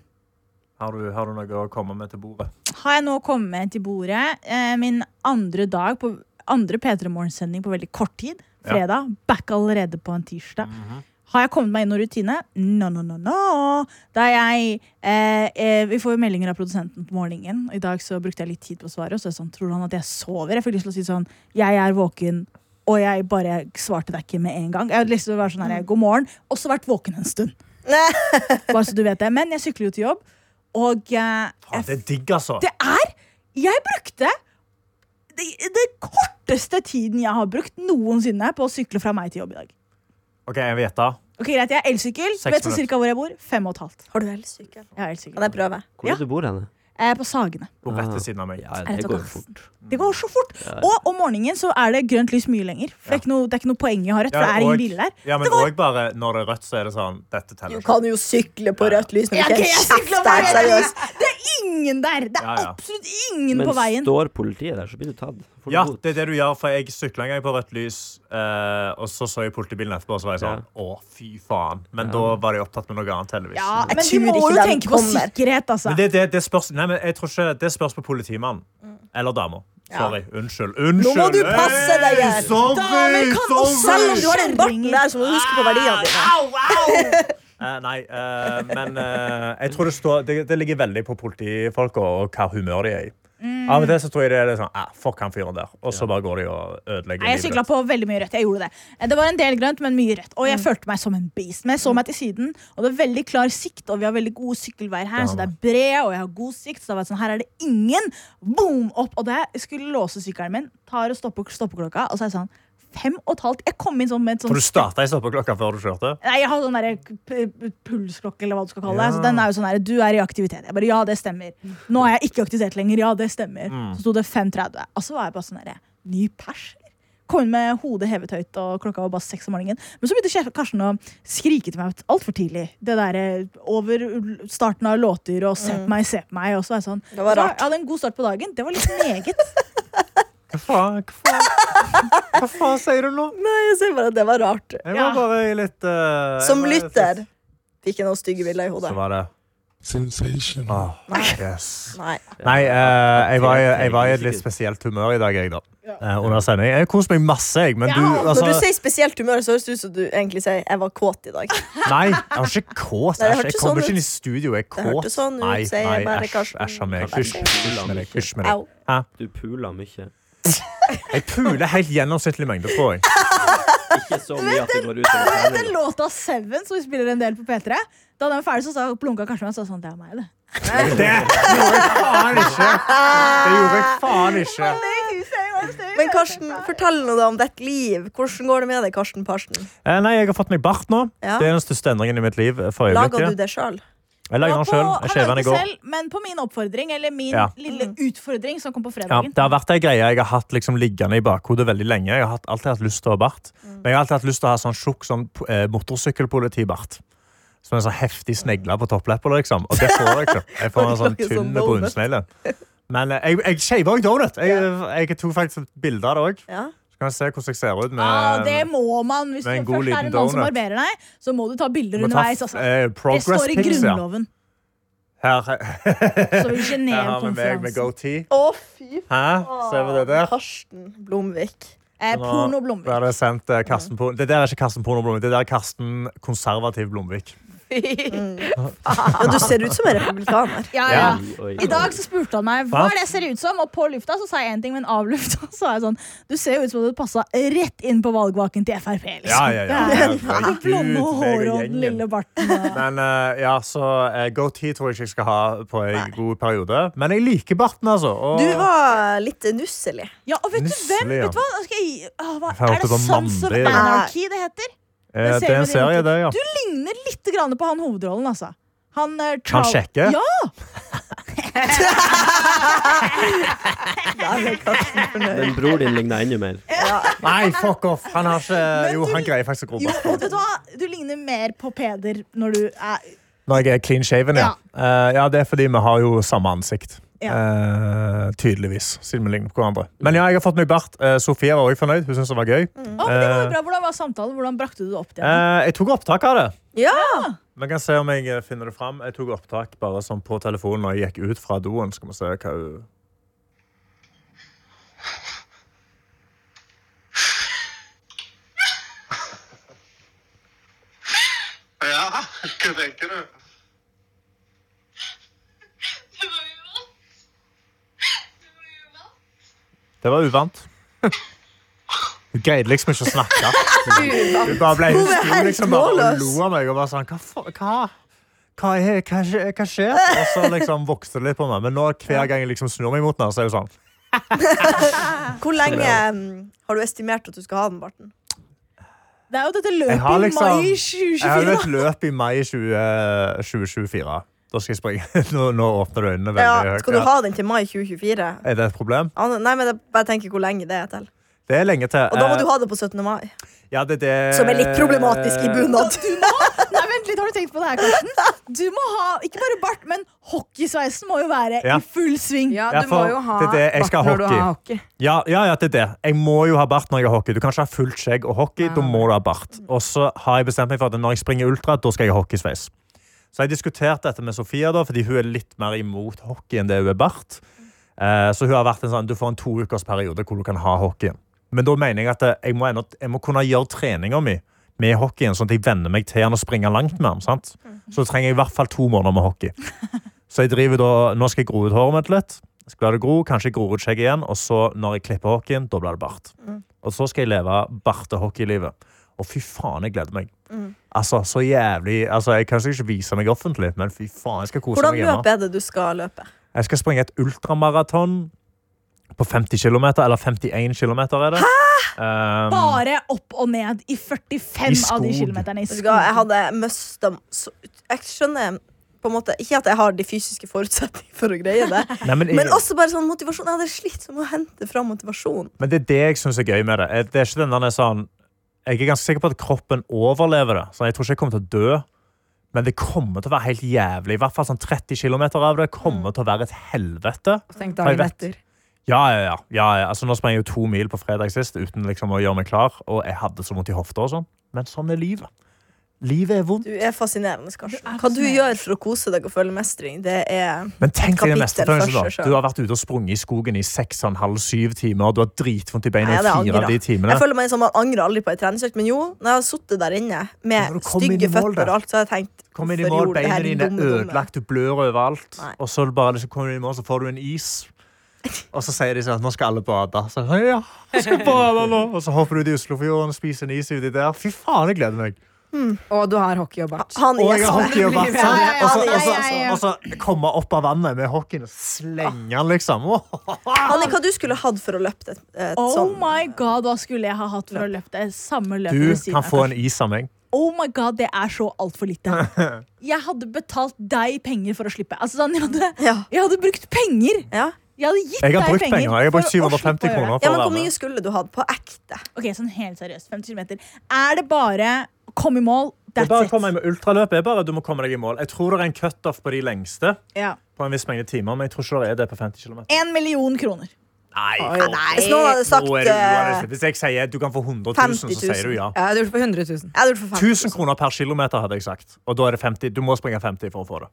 D: Har du, har du noe å komme med til bordet?
C: Har jeg nå kommet til bordet eh, min andre dag på andre P3 Morgen-sending på veldig kort tid?
D: Ja. Mhm.
C: Fredag. Back allerede på en tirsdag. Har jeg kommet meg inn noen rutine? No, no, no, no. Da jeg eh, eh, Vi får jo meldinger av produsenten på morgenen. og I dag så brukte jeg litt tid på å svare, og så er det sånn, tror han at jeg sover? Jeg fikk lyst til å si sånn Jeg er våken. Og jeg bare svarte deg ikke med en gang. Jeg hadde lyst til å være sånn her, God morgen. Og så vært våken en stund. Bare så du vet det. Men jeg sykler jo til jobb, og eh,
D: Faen, det er digg, altså.
C: det er Jeg brukte det, det korteste tiden jeg har brukt noensinne på å sykle fra meg til jobb i dag.
D: OK, jeg vet det.
C: Ok, Greit, jeg har elsykkel.
D: Seks
C: Vet så
D: minutter.
C: cirka hvor jeg bor? Fem og et halvt.
B: Har du elsykkel?
C: Jeg har
B: Kan
C: elsykkel.
B: jeg prøve?
F: Hvor
C: Ja.
F: er det du bor hen?
C: Eh, på Sagene.
D: Bor rett ved siden av meg.
F: Ah. Ja,
C: Er
F: det
C: det
F: går jo
C: Tokassen?
F: fort.
C: Det går så fort. Og om morgenen så er det grønt lys mye lenger. For det, er ikke noe, det er ikke noe poeng i å ha rødt, for det er ingen biler der.
D: Ja, men
C: Det var-
D: òg bare når det er rødt, så er det sånn Dette teller
B: Du
D: ikke.
B: kan jo sykle på rødt lys når
C: Ja,
B: du
C: ok,
B: ikke
C: jeg sykler
B: kjefter.
C: på rødt lys.
B: Seriøst.
C: Det er ingen der! Det er
D: Ja, ja.
C: absolutt ingen
F: Men
C: på veien.
F: står politiet der, så blir du tatt. Får du
D: Ja,
F: bot.
D: det er det du gjør, for jeg sykla en gang på rødt lys, eh, og så så jeg politibilen etterpå, og så var jeg sånn Å, fy faen. Men da var de opptatt med noe annet, heldigvis.
C: Ja,
B: Jeg
C: men de
B: tror
C: må
B: ikke
C: jo
B: den
C: tenke på
B: kommer.
C: sikkerhet, altså.
D: Men det, det, det spørs Nei, men jeg tror ikke Det spørs på politimannen.
C: Mm.
D: Eller dama. Sorry. Unnskyld.
B: Nå
D: Unnskyld.
B: må du passe deg, Gjerd.
D: Hey, Sorry!
C: Damer kan også-
B: Selv om
D: sorry.
B: du har den barten der, så må du huske på verdiene dine.
D: Eh, nei, eh, men eh, jeg tror det, står, det, det ligger veldig på politifolka og hva humør de er i. Av og til så tror jeg det er litt sånn eh, Fuck han fyren der. Og så bare går de og ødelegger
C: Nei, jeg sykla på veldig mye rødt. Jeg gjorde det. Eh, Det var en del grønt, men mye rødt. Og jeg følte meg som en beast. Men jeg så meg til siden, og det er veldig klar sikt, og vi har veldig gode sykkelveier her, så det er bred, og jeg har god sikt, så det var sånn, her er det ingen. Boom! Opp. Og det jeg skulle låse sykkelen min, tar og stopper stoppeklokka, og så er jeg sånn fem og et halvt Jeg kom inn sånn med et
D: For
C: sånt
D: du starta i stoppeklokka før du kjørte?
C: Nei, jeg har sånn der p- p- pulsklokke, eller hva du skal kalle det.
D: Ja.
C: Så den er jo sånn der, Du er i aktivitet. Jeg bare, Ja, det stemmer.
B: Mm.
C: Nå er jeg ikke aktivisert lenger. Ja, det stemmer. Så sto det 5.30. Og så var jeg bare sånn der, Ny pers? eller? Kom inn med hodet hevet høyt, og klokka var bare seks om morgenen. Men så begynte Kjer- Karsten å skrike til meg altfor tidlig. Det derre over starten av låter og 'se på meg, se på meg'. Og så var jeg sånn.
B: Mm. Det var
C: Så
B: rart.
C: Jeg hadde en god start på dagen. Det var litt meget.
D: Hva faen, hva faen, hva faen sier du nå?
B: Nei, jeg ser bare at det var rart.
D: Jeg
C: Ja.
D: var bare litt eh,
B: Som
D: jeg var-
B: lytter fikk jeg noen stygge bilder i hodet.
D: Så var det
H: Sensational.
D: Åh, yes.
B: Nei.
D: Nei, eh, jeg, var, i- jeg var i et litt spesielt humør i dag, jeg, da. Eh, under sending. Jeg koste meg masse, jeg. Men du,
B: Når du
D: altså
B: sier spesielt humør, så høres det ut som du egentlig sier 'jeg var kåt i dag'.
D: Nei, jeg var ikke kåt.
B: Nei, det
D: Æsj,
B: hørtes
D: jeg
B: sånn
D: kommer ikke
B: ut.
D: inn i studio. Jeg er
B: Det
D: kåt.
B: hørtes sånn ut,
D: nei,
B: sier jeg
D: nei,
B: bare,
D: æsj,
B: Karsten.
D: æsj av meg.
F: Karsten.
D: Hysj hysj med deg. Hysj med deg.
B: Au.
F: Du puler mye.
D: Jeg puler helt gjennomsnittlig mengde, tror jeg.
F: Ikke så mye at det går ut over
C: Den
F: treninga.
C: låta 'Seven', som vi spiller en del på P3, da den var ferdig, så sa blunka Karsten meg og sa sånn 'det er meg', det.
D: Det gjorde jeg faen ikke. Det gjorde jeg faen ikke.
B: Men Karsten, fortell nå da om ditt liv. Hvordan går det med deg, Karsten Parsen?
D: Eh, Nei, jeg har fått meg bart nå.
B: Ja.
D: Det er den største endringen i mitt liv. eh, for
B: Lager
D: øyeblikket.
B: du det sjøl?
D: Jeg lagde den
C: Det var
D: sjøl.
C: på-
D: Jeg
C: han
D: skjev
C: lagde
D: den i går.
C: selv, men på min oppfordring, eller min
D: Ja.
C: lille utfordring som kom på
D: Ja,
C: fredagen.
D: det har vært ei greie jeg har hatt liksom liggende i bakhodet veldig lenge. Jeg har hatt, alltid hatt lyst til å ha bart.
C: Mm.
D: Men jeg har alltid hatt lyst til å ha sånn tjukk sånn, eh, motorsykkelpolitibart. Som en sånn heftig snegle på toppleppa. Liksom. Og det får jeg ikke. Jeg får en sånn
B: Lager sånn
D: tynn
B: donut.
D: brunsnegle. Men eh, jeg, jeg shaver òg donut. Jeg, jeg tok faktisk et bilde av det òg.
B: Ja.
D: Så kan jeg se hvordan jeg ser ut med
C: Ah, det må man. Hvis du
D: med en
C: først
D: god
C: er
D: liten
C: det noen som
D: donut.
C: barberer deg, så må du ta bilder
D: må ta,
C: underveis. Altså.
D: eh,
C: Det
D: Progress
C: står i
D: pics, ja.
C: Grunnloven.
D: Her,
C: Så sånn i
D: her har vi meg med
C: Genève-konferansen.
D: goatee.
B: Å, fy
D: Hæ? Ser vi det der?
B: Karsten Blomvik.
C: Eh,
D: Nå-
C: porno
D: Da er
C: Blomvik.
D: det sendt eh, Karsten Por- Det der er ikke Karsten Porno Blomvik, det der er Karsten Konservativ Blomvik.
B: Men Mm. du ser ut som en republikaner.
C: Ja, ja.
F: Oi, oi, oi.
C: I dag så spurte han meg hva
D: Hva?
C: er det jeg ser ut som, og på lufta så sa jeg én ting, men av lufta så sa jeg sånn Du ser jo ut som om du passa rett inn på valgvaken til Frp. Liksom.
D: Ja, ja, ja. Herregud,
C: Blonde
D: meg
C: hår
D: og
C: og den
D: gjengen.
C: lille barten. og-
D: Men eh, ja, så eh, goatee tror jeg ikke jeg skal ha på en god periode. Men jeg liker barten, altså. Og
B: Du var litt nusselig.
C: Ja, og vet du
D: Nusselig,
C: hvem?
D: ja.
C: Vet du hva? Skal jeg, Åh, hva
D: Jeg får
C: er det
D: håpe på
C: Sons of
D: mandag, ja.
C: Anarchy det heter?
D: eh, det er en serie, det, ja.
C: Du ligner litt grann på han hovedrollen, altså. Han, eh,
D: Han
C: Charles-
D: sjekker.
C: Ja,
F: Men bror din ligner enda mer.
D: Nei, fuck off! Han har ikke
C: Men
D: Jo,
C: du-
D: han greier faktisk å gro
C: jo, og vet
D: bart.
C: du hva? Du ligner mer på Peder når du er
D: Når jeg er clean shaven, ja. Eh, ja, det er fordi vi har jo samme ansikt. Eh, tydeligvis, siden vi ligner på hverandre. Men ja, jeg har fått meg bart. Eh, Sofie var også fornøyd. Hun syntes det var gøy.
C: Mm. Å, men det var jo bra. Hvordan var samtalen? Hvordan brakte du det opp til henne?
D: Eh, jeg tok opptak av det.
B: Ja!
D: Vi kan se om jeg eh, finner det fram. Jeg tok opptak bare sånn på telefonen når jeg gikk ut fra doen. Skal vi se hva hun
H: Ja, hva tenker du?
I: Det var uvant. Det var uvant.
D: Det var uvant. Hun greide liksom ikke å snakke. Hun bare ble hun sto liksom bare og lo av meg og bare sånn Hva fa- hva? Hva, er, hva, skje- hva skjer? Og så liksom vokste det litt på meg. Men nå hver gang jeg liksom snur meg mot henne, så er hun sånn.
B: Hvor lenge mm, har du estimert at du skal ha den barten?
C: Det er jo dette
D: Jeg har
C: løpet
D: liksom-
C: i mai
D: Jeg
C: 2024.
D: har jo
C: da.
D: et løp i mai 20, 2024. Da skal jeg springe. Nå, nå åpner du øynene veldig
B: Ja,
D: høyt.
B: skal du
D: Ja.
B: ha den til mai 2024?
D: Er det et problem?
B: Ah, Nei, men jeg bare tenker hvor lenge det er til.
D: Det er lenge til.
B: Og da må
D: Eh,
B: du ha det på 17. mai.
D: Ja, det, det...
B: Som er litt problematisk
D: Eh,
B: i bunad.
C: Nei, vent litt, har du tenkt på det her, Karsten? Du må ha, ikke bare bart, men hockeysveisen må jo være
D: Ja.
C: i full sving.
E: Ja,
D: Ja,
E: du må
D: for
E: jo ha
D: det er det jeg skal
E: bart når du
D: hockey.
E: har hockey.
D: Ja, ja, ja, det er det. Jeg må jo ha bart når jeg har hockey. Du kan ikke ha fullt skjegg og hockey. Da må du ha bart.
B: Mm.
D: Og så har jeg bestemt meg for at når jeg springer ultra, da skal jeg ha hockeysveis. Så jeg diskuterte dette med Sofia, da, fordi hun er litt mer imot hockey enn det hun er bart. Eh, så hun har vært en sånn, du får en toukersperiode hvor du kan ha hockey. Men da mener jeg at eh, jeg må, ennå, jeg må kunne gjøre treninga mi med hockeyen, sånn at jeg venner meg til den og springer langt med den. sant? Så trenger jeg i hvert fall to måneder med hockey. Så jeg driver da, nå skal jeg gro ut håret mitt litt. Skal la det gro, kanskje jeg gror ut skjegget igjen, og så når jeg klipper hockeyen, da blir det bart. Og så skal jeg leve bartehockeylivet. Og fy faen, jeg gleder meg. Altså, så jævlig, altså, Jeg kan sikkert ikke vise meg offentlig, men fy faen, jeg skal kose
B: Hvordan
D: meg hjemme.
B: løp er det du skal løpe?
D: Jeg skal springe et ultramaraton på 50 km, eller 51 km er det. Um,
C: Bare opp og ned i
D: I
C: 45 av de
D: skog.
C: kilometerne i
B: Vet du
C: skog.
B: hva, jeg hadde mista så- Jeg skjønner på en måte ikke at jeg har de fysiske forutsetningene for å greie det,
D: nei, men,
B: men
D: jeg,
B: også bare sånn motivasjon. Jeg hadde slitt som å hente fram motivasjon.
D: men det er det jeg syns er gøy med det. Eh, Det er ikke den der sånn Jeg er ganske sikker på at kroppen overlever det. Så jeg tror ikke jeg kommer til å dø. Men det kommer til å være helt jævlig. I hvert fall sånn 30 km av det kommer til å være et helvete.
E: Og tenk
D: For jeg
E: dagen
D: vet.
E: etter.
D: Ja, ja, ja. ja, ja. Altså, nå sprang jeg jo to mil på fredag sist uten liksom å gjøre meg klar. Og jeg hadde så vondt i hofta og sånn. Men sånn er livet. Livet er vondt.
B: Du er fascinerende, Karsten. Hva du gjør for å kose deg og føle mestring, det er
D: Men tenk deg det
B: kapittel
D: meste
B: for
D: Tønsen,
B: seg
D: da.
B: selv.
D: Du har vært ute og sprunget i skogen i seks og en halv, syv timer, og du har dritvondt i beina
B: Nei,
D: i
B: det
D: fire av
B: angrer
D: de
B: jeg.
D: timene.
B: Jeg føler meg som man angrer aldri på en treningsøkt, men jo, når jeg har sittet der inne
D: Når
B: med
D: du kom inn i
B: stygge
D: mål
B: føtter
D: der.
B: og alt, så har jeg tenkt
D: Kom inn i
B: hvorfor
D: mål,
B: gjorde jeg det
D: beina
B: her,
D: dine
B: dumme,
D: er
B: dumme?
D: ødelagt, du blør overalt.
B: Nei.
D: Og så bare liksom kommer du inn i mål, så får du en is. Og så sier de sånn at nå skal alle bade. Så jeg, ja, jeg skal bade nå. Og så hopper du ut i Oslofjorden og spiser en is uti der. Fy faen, jeg gleder meg.
E: Og du har hockey og bart.
B: Han
D: Og jeg
B: er
D: har
B: sånn.
D: hockey og bart. sant?
C: Ja, ja, ja,
D: Og så-
C: ja,
D: og så-
C: ja, ja.
D: Og så komme opp av vannet med hockeyen og slenge den, liksom.
B: Hanni, hva du skulle hatt for å løpe et, sånn? et
C: Oh
B: sånt?
C: my god, hva skulle jeg ha hatt for å løpe det samme løpet
D: Sånn. Du
C: ved siden
D: kan
C: av,
D: få en
C: Karsten?
D: is av meg.
C: Å, Oh my god, det er så altfor lite. Jeg hadde betalt deg penger for å slippe. Altså, sånn, jeg, hadde,
B: Ja.
C: jeg hadde brukt penger!
B: Ja.
C: Jeg hadde gitt
D: Jeg har
C: deg
D: brukt penger. Jeg har brukt
C: for å slippe å
D: 750
C: gjøre det.
D: kroner.
B: ja, men
D: for å
B: Hvor
D: være med.
B: mye skulle du hatt på ekte?
C: Ok, sånn helt seriøst. 50 km. Er det bare kom i mål,
D: Det er
C: that's
D: bare å
C: it?
D: komme med ultraløp er bare at du må komme deg i mål. Jeg tror det er en cutoff på de lengste,
C: Ja.
D: på en viss mengde timer, men jeg tror ikke det er det på 50 km.
C: En million kroner.
D: Nei,
B: Hvis noen hadde sagt
D: Nå er du
B: eh,
D: urealistisk. Hvis jeg sier du kan få 100 000,
B: 50
D: så sier du
B: 000.
D: ja.
E: Jeg hadde gjort det for 100 000.
B: Jeg hadde gjort for 50
D: 1000 kroner per kilometer hadde jeg sagt. Og da er det 50. Du må springe 50 for å få det.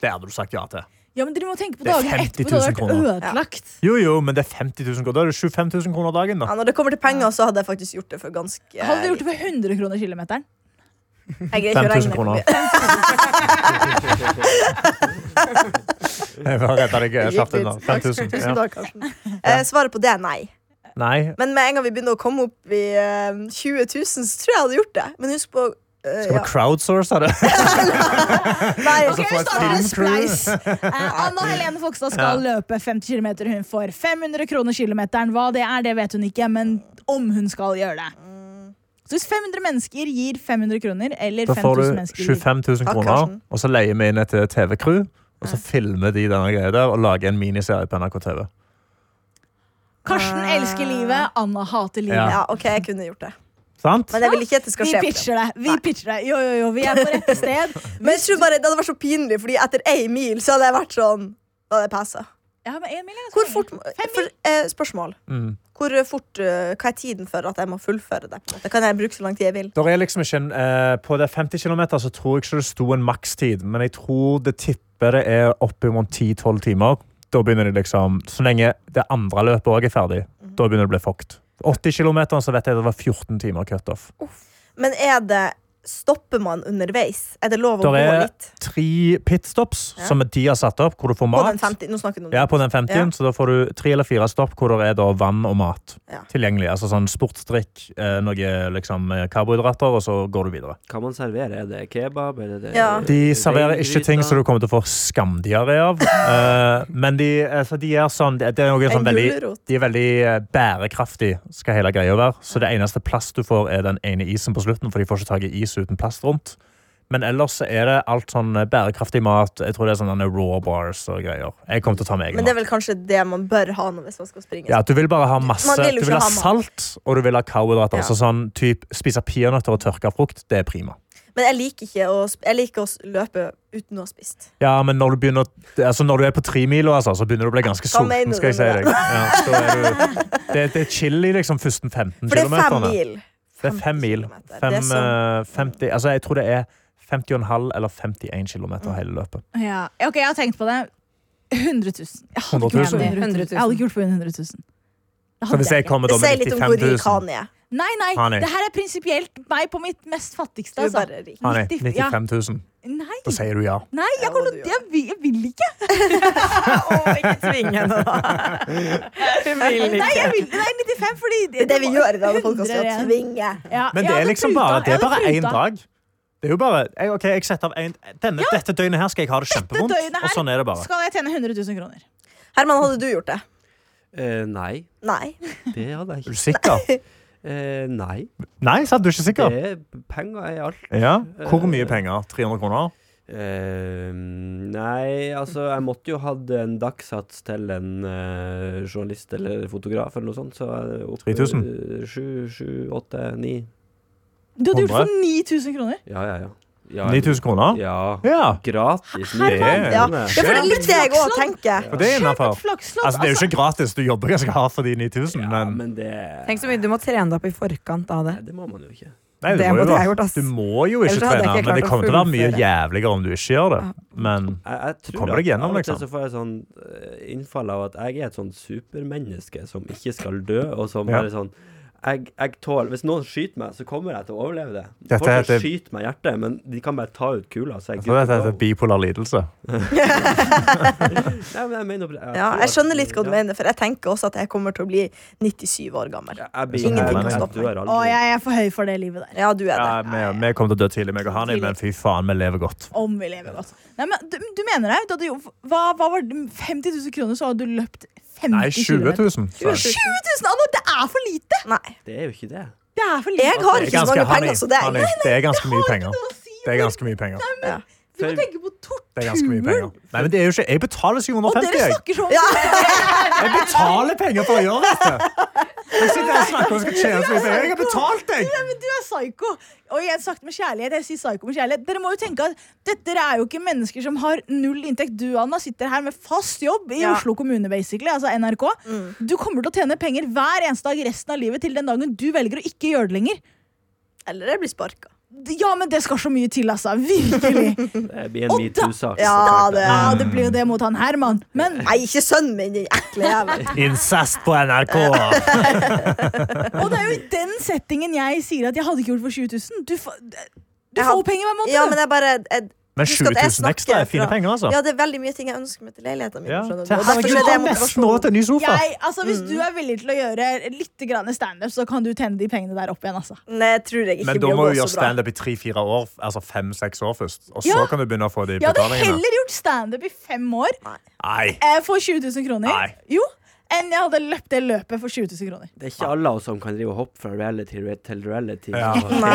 D: Det hadde du sagt ja til.
C: Ja, men Dere må tenke på
D: Det er
C: dagene
D: 50
C: etterpå. Det hadde vært
D: 000
C: ødelagt.
D: Jo, jo, men det er 50 000 kroner. Da er det 25 000 kroner dagen, da.
B: Ja, når det kommer til penger, så hadde jeg faktisk gjort det for ganske
C: Hadde dere gjort det for 100 kroner kilometeren?
B: Jeg greier ikke å
D: 5000
B: regne.
D: kroner. Jeg bare redda deg eh, kjapt unna. 5000.
B: Tusen
D: Ja.
B: takk, Karsten. Eh, svaret på det er nei.
D: Nei.
B: Men med en gang vi begynner å komme opp i eh, 20 000, så tror jeg jeg hadde gjort det. Men husk på eh,
D: Skal vi crowdsource det?
B: Nei,
C: Ok, vi starter en spleis. Eh, Anna Helene Fogstad skal løpe 50 km. Hun får 500 kroner kilometeren. Hva det er, det vet hun ikke, men om hun skal gjøre det. Så hvis 500 mennesker gir 500 kroner, eller
D: Da får du
C: 5000 mennesker gir
D: 25 000
B: Takk,
D: kroner,
B: Karsten.
D: og så leier vi inn et eh, TV-crew. Og så filmer de denne greia der og lager en miniserie på NRK TV.
C: Karsten elsker livet, Anna hater livet.
B: Ja, OK, jeg kunne gjort det.
D: Sant?
B: Men jeg vil ikke at det skal
C: Vi
B: skje. på det.
C: pitcher det. vi pitcher det Jo, jo, jo, vi er på rette sted.
B: Men jeg tror bare det hadde vært så pinlig, Fordi etter én mil så hadde jeg vært sånn Da hadde jeg passa.
C: Ja, men en mil er ganske
B: Hvor
C: mange.
B: fort
C: Fem
B: for, eh, Spørsmål.
D: Mm.
B: Hvor fort, eh, hva er tiden for at jeg må fullføre det? på en måte? Kan jeg bruke så lang tid jeg vil?
D: Der er liksom ikke en, eh, på det 50 km så tror jeg ikke det sto en makstid, men jeg tror det tipper det er oppimot 10-12 timer. Da begynner det liksom, Så lenge det andre løpet òg er ferdig,
B: Mhm.
D: da begynner det å bli fucked. 80 km så vet jeg det var 14 timer cutoff.
B: Men er det Stopper man underveis? Er det lov å gå
D: Der er-
B: litt?
D: Tre pitstops
B: Ja.
D: som de har satt opp, hvor du får
B: På den
D: mat.
B: 50, nå snakker du om det.
D: Ja, på den 50,
B: Ja.
D: så da får du tre eller fire stopp hvor det er da vann og mat
B: Ja.
D: tilgjengelig. Altså sånn sportsdrikk, eh, noe liksom eh, karbohydrater, og så går du videre.
F: Hva man serverer? Er det kebab? Er det
B: Ja.
D: De serverer ikke ting som du kommer til å få skamdiaré av. eh, men de, altså, de er sånn Det det er noe
B: En
D: sånn veldig
B: gulrot.
D: de er veldig eh, bærekraftig, skal hele greia være. Så det eneste plast du får, er den ene isen på slutten, for de får ikke tak i is uten plast rundt. Men ellers så er det alt sånn eh, bærekraftig mat. Jeg tror det er sånne raw bars og greier. Jeg kommer til å ta med
B: Men
D: egen
B: det er
D: mat.
B: vel kanskje det man bør ha nå hvis man skal springe.
D: Ja, du vil bare ha masse.
B: Man vil jo
D: Du vil
B: ikke
D: ha
B: ha mat.
D: salt, og du vil ha karbohydrater.
B: Ja.
D: Så sånn typ spise peanøtter og tørka frukt, det er prima.
B: Men jeg liker ikke å, sp- jeg liker å s- løpe uten å ha spist.
D: Ja, men når du, begynner, altså når du er på tremila, altså, så begynner du å bli ganske
B: mener
D: sulten.
B: du
D: skal jeg si
B: med
D: deg. Ja, da er du, det, det er chili liksom, første 15
B: For det er fem
D: kilometerne.
B: mil.
D: Det er fem
B: 50
D: mil.
B: kilometer. Det er
D: Fem,
B: sånn-
D: eh, 50, altså, jeg tror det er 50,5 eller 51 km
B: Mm.
D: hele løpet.
C: Ja. Ok, jeg har tenkt på det. 100 000. Jeg hadde
D: 100
C: ikke
D: 000.
C: gjort det.
E: 100 000.
C: Jeg hadde ikke gjort det på 100 000. Det
D: Så
C: hadde
D: hvis jeg
C: jeg ikke.
D: kommer da
B: Det sier
D: med
B: litt om hvor rik
D: 95 000
B: han er.
C: Nei, nei,
D: Han er-
C: det her er prinsipielt meg på mitt mest
B: Du
C: fattigste.
B: er
C: Altså.
B: bare rik.
D: Han er
C: 90 ja.
D: 95 000.
C: Nei,
D: Da sier du ja.
C: nei jeg,
B: Ja,
C: kommer,
B: hva du
C: til- jeg, vil, jeg vil ikke.
E: Å, ikke tving henne, da. Hun vil
C: Nei, jeg
E: ikke.
C: vil, nei 95, fordi
B: Det er det vi gjør i denne
C: 100
B: podkasten. Å
C: igjen.
B: tvinge.
C: Ja, jeg
D: Men det er
C: hadde
D: liksom
C: pruta,
D: bare, det
C: jeg
D: er
C: hadde
D: bare én
C: pruta.
D: dag. Det er jo bare, jeg, ok, jeg setter av en, denne, Dette døgnet her skal jeg ha det kjempevondt.
C: døgnet her
D: Og sånn er det bare.
C: Skal jeg tjene 100 000 kroner?
B: Herman, hadde du gjort det?
F: Eh, nei,
B: Nei.
F: det hadde jeg
D: Er du
F: ikke.
D: sikker?
F: Eh, nei.
D: Nei, sa du ikke sikker?
F: Det Eh, er penger er alt.
D: Ja. Hvor mye penger? 300 kroner?
F: Eh, nei, altså jeg måtte jo hatt en dagssats til en eh, journalist eller fotograf eller noe sånt, så eh, opp
D: 3000?
F: eh, Sju, sju, åtte, ni.
C: Du hadde gjort det for
D: 100.
C: 9000 kroner.
F: Ja, ja, ja. ja
D: 9000 kroner?
F: Ja.
D: Ja.
F: Gratis. eh.
D: Herman,
B: Ja,
F: kroner.
B: ja for det er litt det jeg òg tenker.
D: Og det er
C: Kjøp
D: innafor.
C: et flakslodd.
D: Altså, det er jo ikke gratis. Du jobber ganske hardt for de 9000,
F: Ja,
D: men
F: men det
E: Tenk så mye du må trene deg opp i forkant av det.
F: Nei, det må man jo ikke.
D: Nei, du,
E: det
D: må jo,
E: måtte jeg gjort, ass.
D: du må jo ikke
E: Ellers hadde jeg
D: trene.
E: ikke
D: Men det
E: klart å
D: kommer til å være mye
E: fullføre.
D: jævligere om du ikke gjør det. Men
F: Jeg, jeg tror
D: Kommer
F: at
D: deg gjennom,
F: av og til
D: liksom.
F: Så får jeg sånn eh, innfall av at jeg er et sånn supermenneske som ikke skal dø, og som
D: Ja.
F: bare sånn jeg, jeg tåler, Hvis noen skyter meg, så kommer jeg til å overleve det.
D: Dette
F: Folk kan
D: heter-
F: skyte meg i hjertet, men de kan bare ta ut kula. Så jeg,
D: så dette heter bipolar lidelse.
F: Nei, men jeg, mener, jeg,
B: Ja,
F: tror
B: jeg
F: at-
B: skjønner litt hva du
F: ja.
B: mener, for jeg tenker også at jeg kommer til å bli 97 år gammel.
F: Jeg, jeg, blir-
D: Ingenting
F: jeg,
D: kan
F: jeg,
B: stoppe meg.
F: dør
C: Å,
F: aldri.
C: jeg er for høy for det livet der.
B: Ja, du er
D: Ja,
B: det.
D: vi, vi kommer til å dø tidlig, meg og Hanil, men fy faen, vi lever godt.
C: Om vi lever godt. Nei, men du, du mener det? Du hadde jo, hva, hva var det? 50 000 kroner, så hadde du løpt 50
D: Nei, 20
C: kilometer.
D: 000. sa jeg.
C: 20 000, Anna! Det er for lite!
B: Nei.
F: Det er jo ikke det.
C: Det jævlig
B: Jeg har ikke så
D: ganske-
B: mange
D: han
B: penger
D: er-
B: som deg.
D: han er- Det er ganske mye
C: Ikke
D: penger.
C: noe å si.
D: Det er ganske mye penger.
C: Du må tenke på torturen.
D: Det er ganske mye penger. Nei, men det er jo ikke, Jeg betaler
C: Og
D: 750,
C: dere
D: jeg.
C: snakker sånn.
B: Ja.
D: Jeg betaler penger for å gjøre dette! Jeg sitter her og snakker om at jeg skal tjene så mye penger. Jeg har betalt deg!
C: Nei, men du er psyko. Og igjen sagt med kjærlighet. Jeg sier psyko med kjærlighet. Dere må jo tenke at dette er jo ikke mennesker som har null inntekt. Du, Anna, sitter her med fast jobb i
B: Ja. Mm.
C: Oslo kommune, basically, altså NRK. Du kommer til å tjene penger hver eneste dag resten av livet til den dagen du velger å ikke gjøre det lenger.
B: Eller jeg blir sparka.
C: Ja, men det skal så mye til, altså. Virkelig.
F: Det blir en
C: Og da-
F: metoo-sak.
B: Mm. Ja, det
C: Ja, det blir jo det mot han Herman. Men
B: Nei, ikke sønnen min, din ekle jævel.
D: Incest på NRK.
C: Og det er jo i den settingen jeg sier at jeg hadde ikke gjort for 20 000. Du, fa- du
B: Jeg
C: får
B: had-
C: jo penger hver måned.
B: Ja,
C: du.
B: men jeg bare jeg,
D: Men
B: Husk at
D: 20
B: jeg
D: 000 ekstra er fine
B: snakker fra-
D: penger, altså.
B: Ja, det er veldig mye ting jeg ønsker meg til leiligheten min.
D: Ja.
B: skjønner du. Og derfor
D: Herregud,
B: så er det
D: han nesten nå
B: motivasjonen.
D: til en ny sofa.
C: jeg, altså, hvis
B: Mm.
C: du er villig til å gjøre litt grann standup, så kan du tjene de pengene der opp igjen. Altså.
B: Nei, jeg tror jeg ikke
D: Men da
B: blir å
D: må
B: gå
D: du gjøre
B: så bra.
D: standup i tre-fire år, altså fem-seks år først. Og så
C: Ja.
D: kan du begynne å få de
C: Jeg hadde
D: betalingene.
C: heller gjort standup i fem år
D: Nei.
C: eh, for 20 000 kroner
D: Nei.
C: Jo, enn jeg hadde løpt det løpet for 20 000 kroner.
F: Det er ikke alle av oss som kan drive og hoppe fra reality re- til reality.
D: Ja.
B: Nei.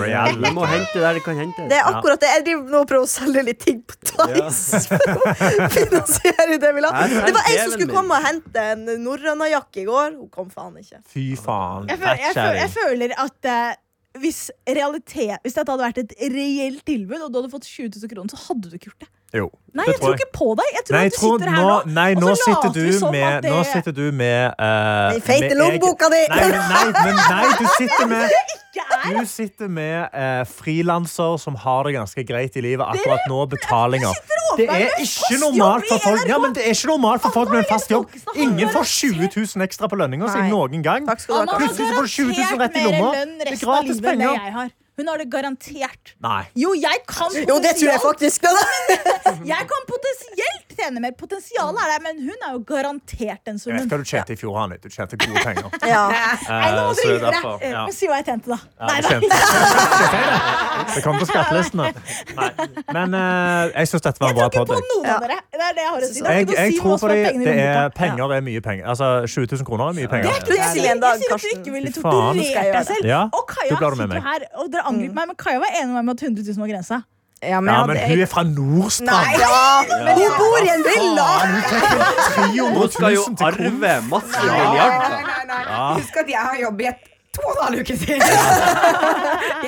D: Reality.
F: Vi må hente der det kan hentes.
B: Det er akkurat det. Jeg driver nå og prøver å selge litt ting på Tice. For å finansiere det jeg vil ha.
F: Her er
B: Det var jeg som
F: djevelen
B: skulle
F: min.
B: komme og hente en norrønajakke i går. Hun kom faen ikke.
D: Fy faen.
C: Jeg føler, jeg føler, jeg
D: Kjæring.
C: føler at eh, hvis, realitet, hvis dette hadde vært et reelt tilbud, og du hadde fått 20 000 kroner, så hadde du ikke gjort det.
D: Jo.
C: Nei,
D: det
C: jeg tror ikke på deg. Jeg tror
D: Nei,
C: at du
D: tror-
C: sitter her nå,
D: nå, nei,
C: og
D: nå,
C: så
D: sitter
C: later vi
D: du
C: som
D: med,
C: at det
D: nå sitter du med eh,
B: Den feite
D: med
B: lommeboka di!
D: egen- Nei, men nei, men nei, du sitter med
C: ikke er
D: Du sitter med eh, frilanser som har det ganske greit i livet akkurat nå. Betalinger. Det er ikke normalt for folk Ja, men det er ikke normalt for folk med en fast jobb. Ingen får 20 000 ekstra på lønninga si
B: Nei.
D: noen gang.
B: Takk skal du ha.
D: Plutselig så får du 20 000 rett i
C: garantert
D: lomma.
C: mer lønn
D: Det er
C: resten av
D: gratis
C: livet enn det
D: penger.
C: jeg har. Hun har det garantert.
D: Nei.
C: Jo, jeg kan
B: Jo, det tror jeg
C: potensielt-
B: faktisk. Da.
C: Jeg kan potensielt tjene mer. Potensialet er der, men hun er jo garantert den
D: Jeg vet
C: summen.
D: hva du tjente i fjor, Hanni. Du tjente gode penger.
B: Ja.
C: Nei, nå må
D: så
C: dere
D: det er
C: gi dere.
D: derfor, ja.
C: Men si hva jeg tjente, da.
D: Ja,
C: Nei,
D: du
C: da.
D: tjente- Det kom på skattelistene. Nei. Men eh, jeg syns dette var
C: Jeg
D: en bra
C: tror ikke på
D: podkast.
C: noen av dere. Det er det jeg har å si. Det har
D: Jeg,
C: ikke noe å
D: jeg
C: si
D: tror
C: hva som er
D: fordi
C: pengene
D: det
C: i
D: er
C: lommeboka.
D: penger er mye penger. Altså 20 000 kroner er mye penger.
C: Det jeg
B: Plutselig
C: sier.
B: en dag,
C: Jeg sier at du
B: Karsten.
C: ikke ville
D: Fy
C: tok
D: faen.
C: du
B: Skal jeg
C: rev
B: gjøre
C: deg selv.
D: Ja,
C: Og Kaja
D: da blir du med
C: sitter jo
D: meg.
C: her, og dere angrer på meg, men Kaja var enig med meg om at 100 000 var grensa.
E: Ja, men,
D: Ja,
E: jeg
D: men
E: hadde-
D: hun er fra
B: Nei,
D: Nordstrand.
B: ja. Hun bor i en villa!
F: Hun skal jo
D: 300 000 til kone.
F: arve masse milliarder.
E: Nei, nei, nei. Husk at jeg har jobb i et to og en halv uke til.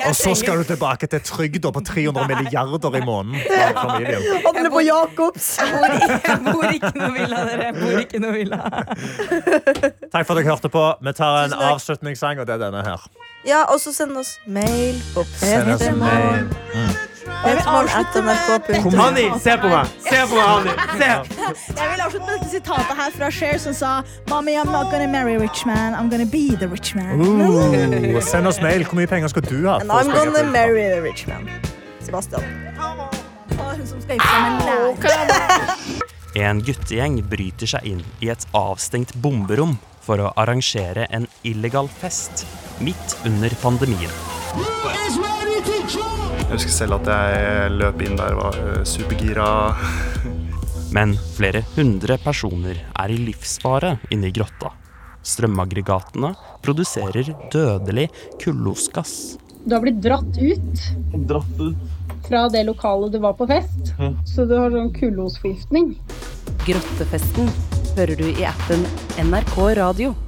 D: Og så skal du tilbake til trygda på 300 milliarder i måneden. for familien.
B: Handler på Jacobs.
E: Jeg bor ikke noe villa, dere. Jeg bor ikke noe villa.
D: Takk for at dere hørte på. Vi tar en
B: Tusen takk.
D: avslutningssang, og det er denne her.
B: Ja, og så send oss mail på
D: Send oss en mail.
B: p3morgen.nrk.no.
F: Hanni, se på meg! Se på meg, Hanni! Se!
C: Jeg vil avslutte med dette sitatet her fra Cher som sa Mommy, I'm not gonna marry a rich man, I'm gonna be the rich man.
D: Uh, send oss mail. Hvor mye penger skal du ha?
B: And
D: for å
B: I'm
D: springe
B: gonna
D: til?
B: marry the rich man. Sebastian.
C: Og hun som skal gifte seg med en lærer.
J: En guttegjeng bryter seg inn i et avstengt bomberom for å arrangere en illegal fest midt under pandemien.
H: Jeg husker selv at jeg løp inn der og var eh, supergira.
J: Men flere hundre personer er i livsfare inne i grotta. Strømaggregatene produserer dødelig kullosgass.
K: Du har blitt dratt ut
J: Dratt ut
K: fra det lokalet du var på fest, så du har sånn kullosforgiftning.
L: Grottefesten hører du i appen NRK Radio.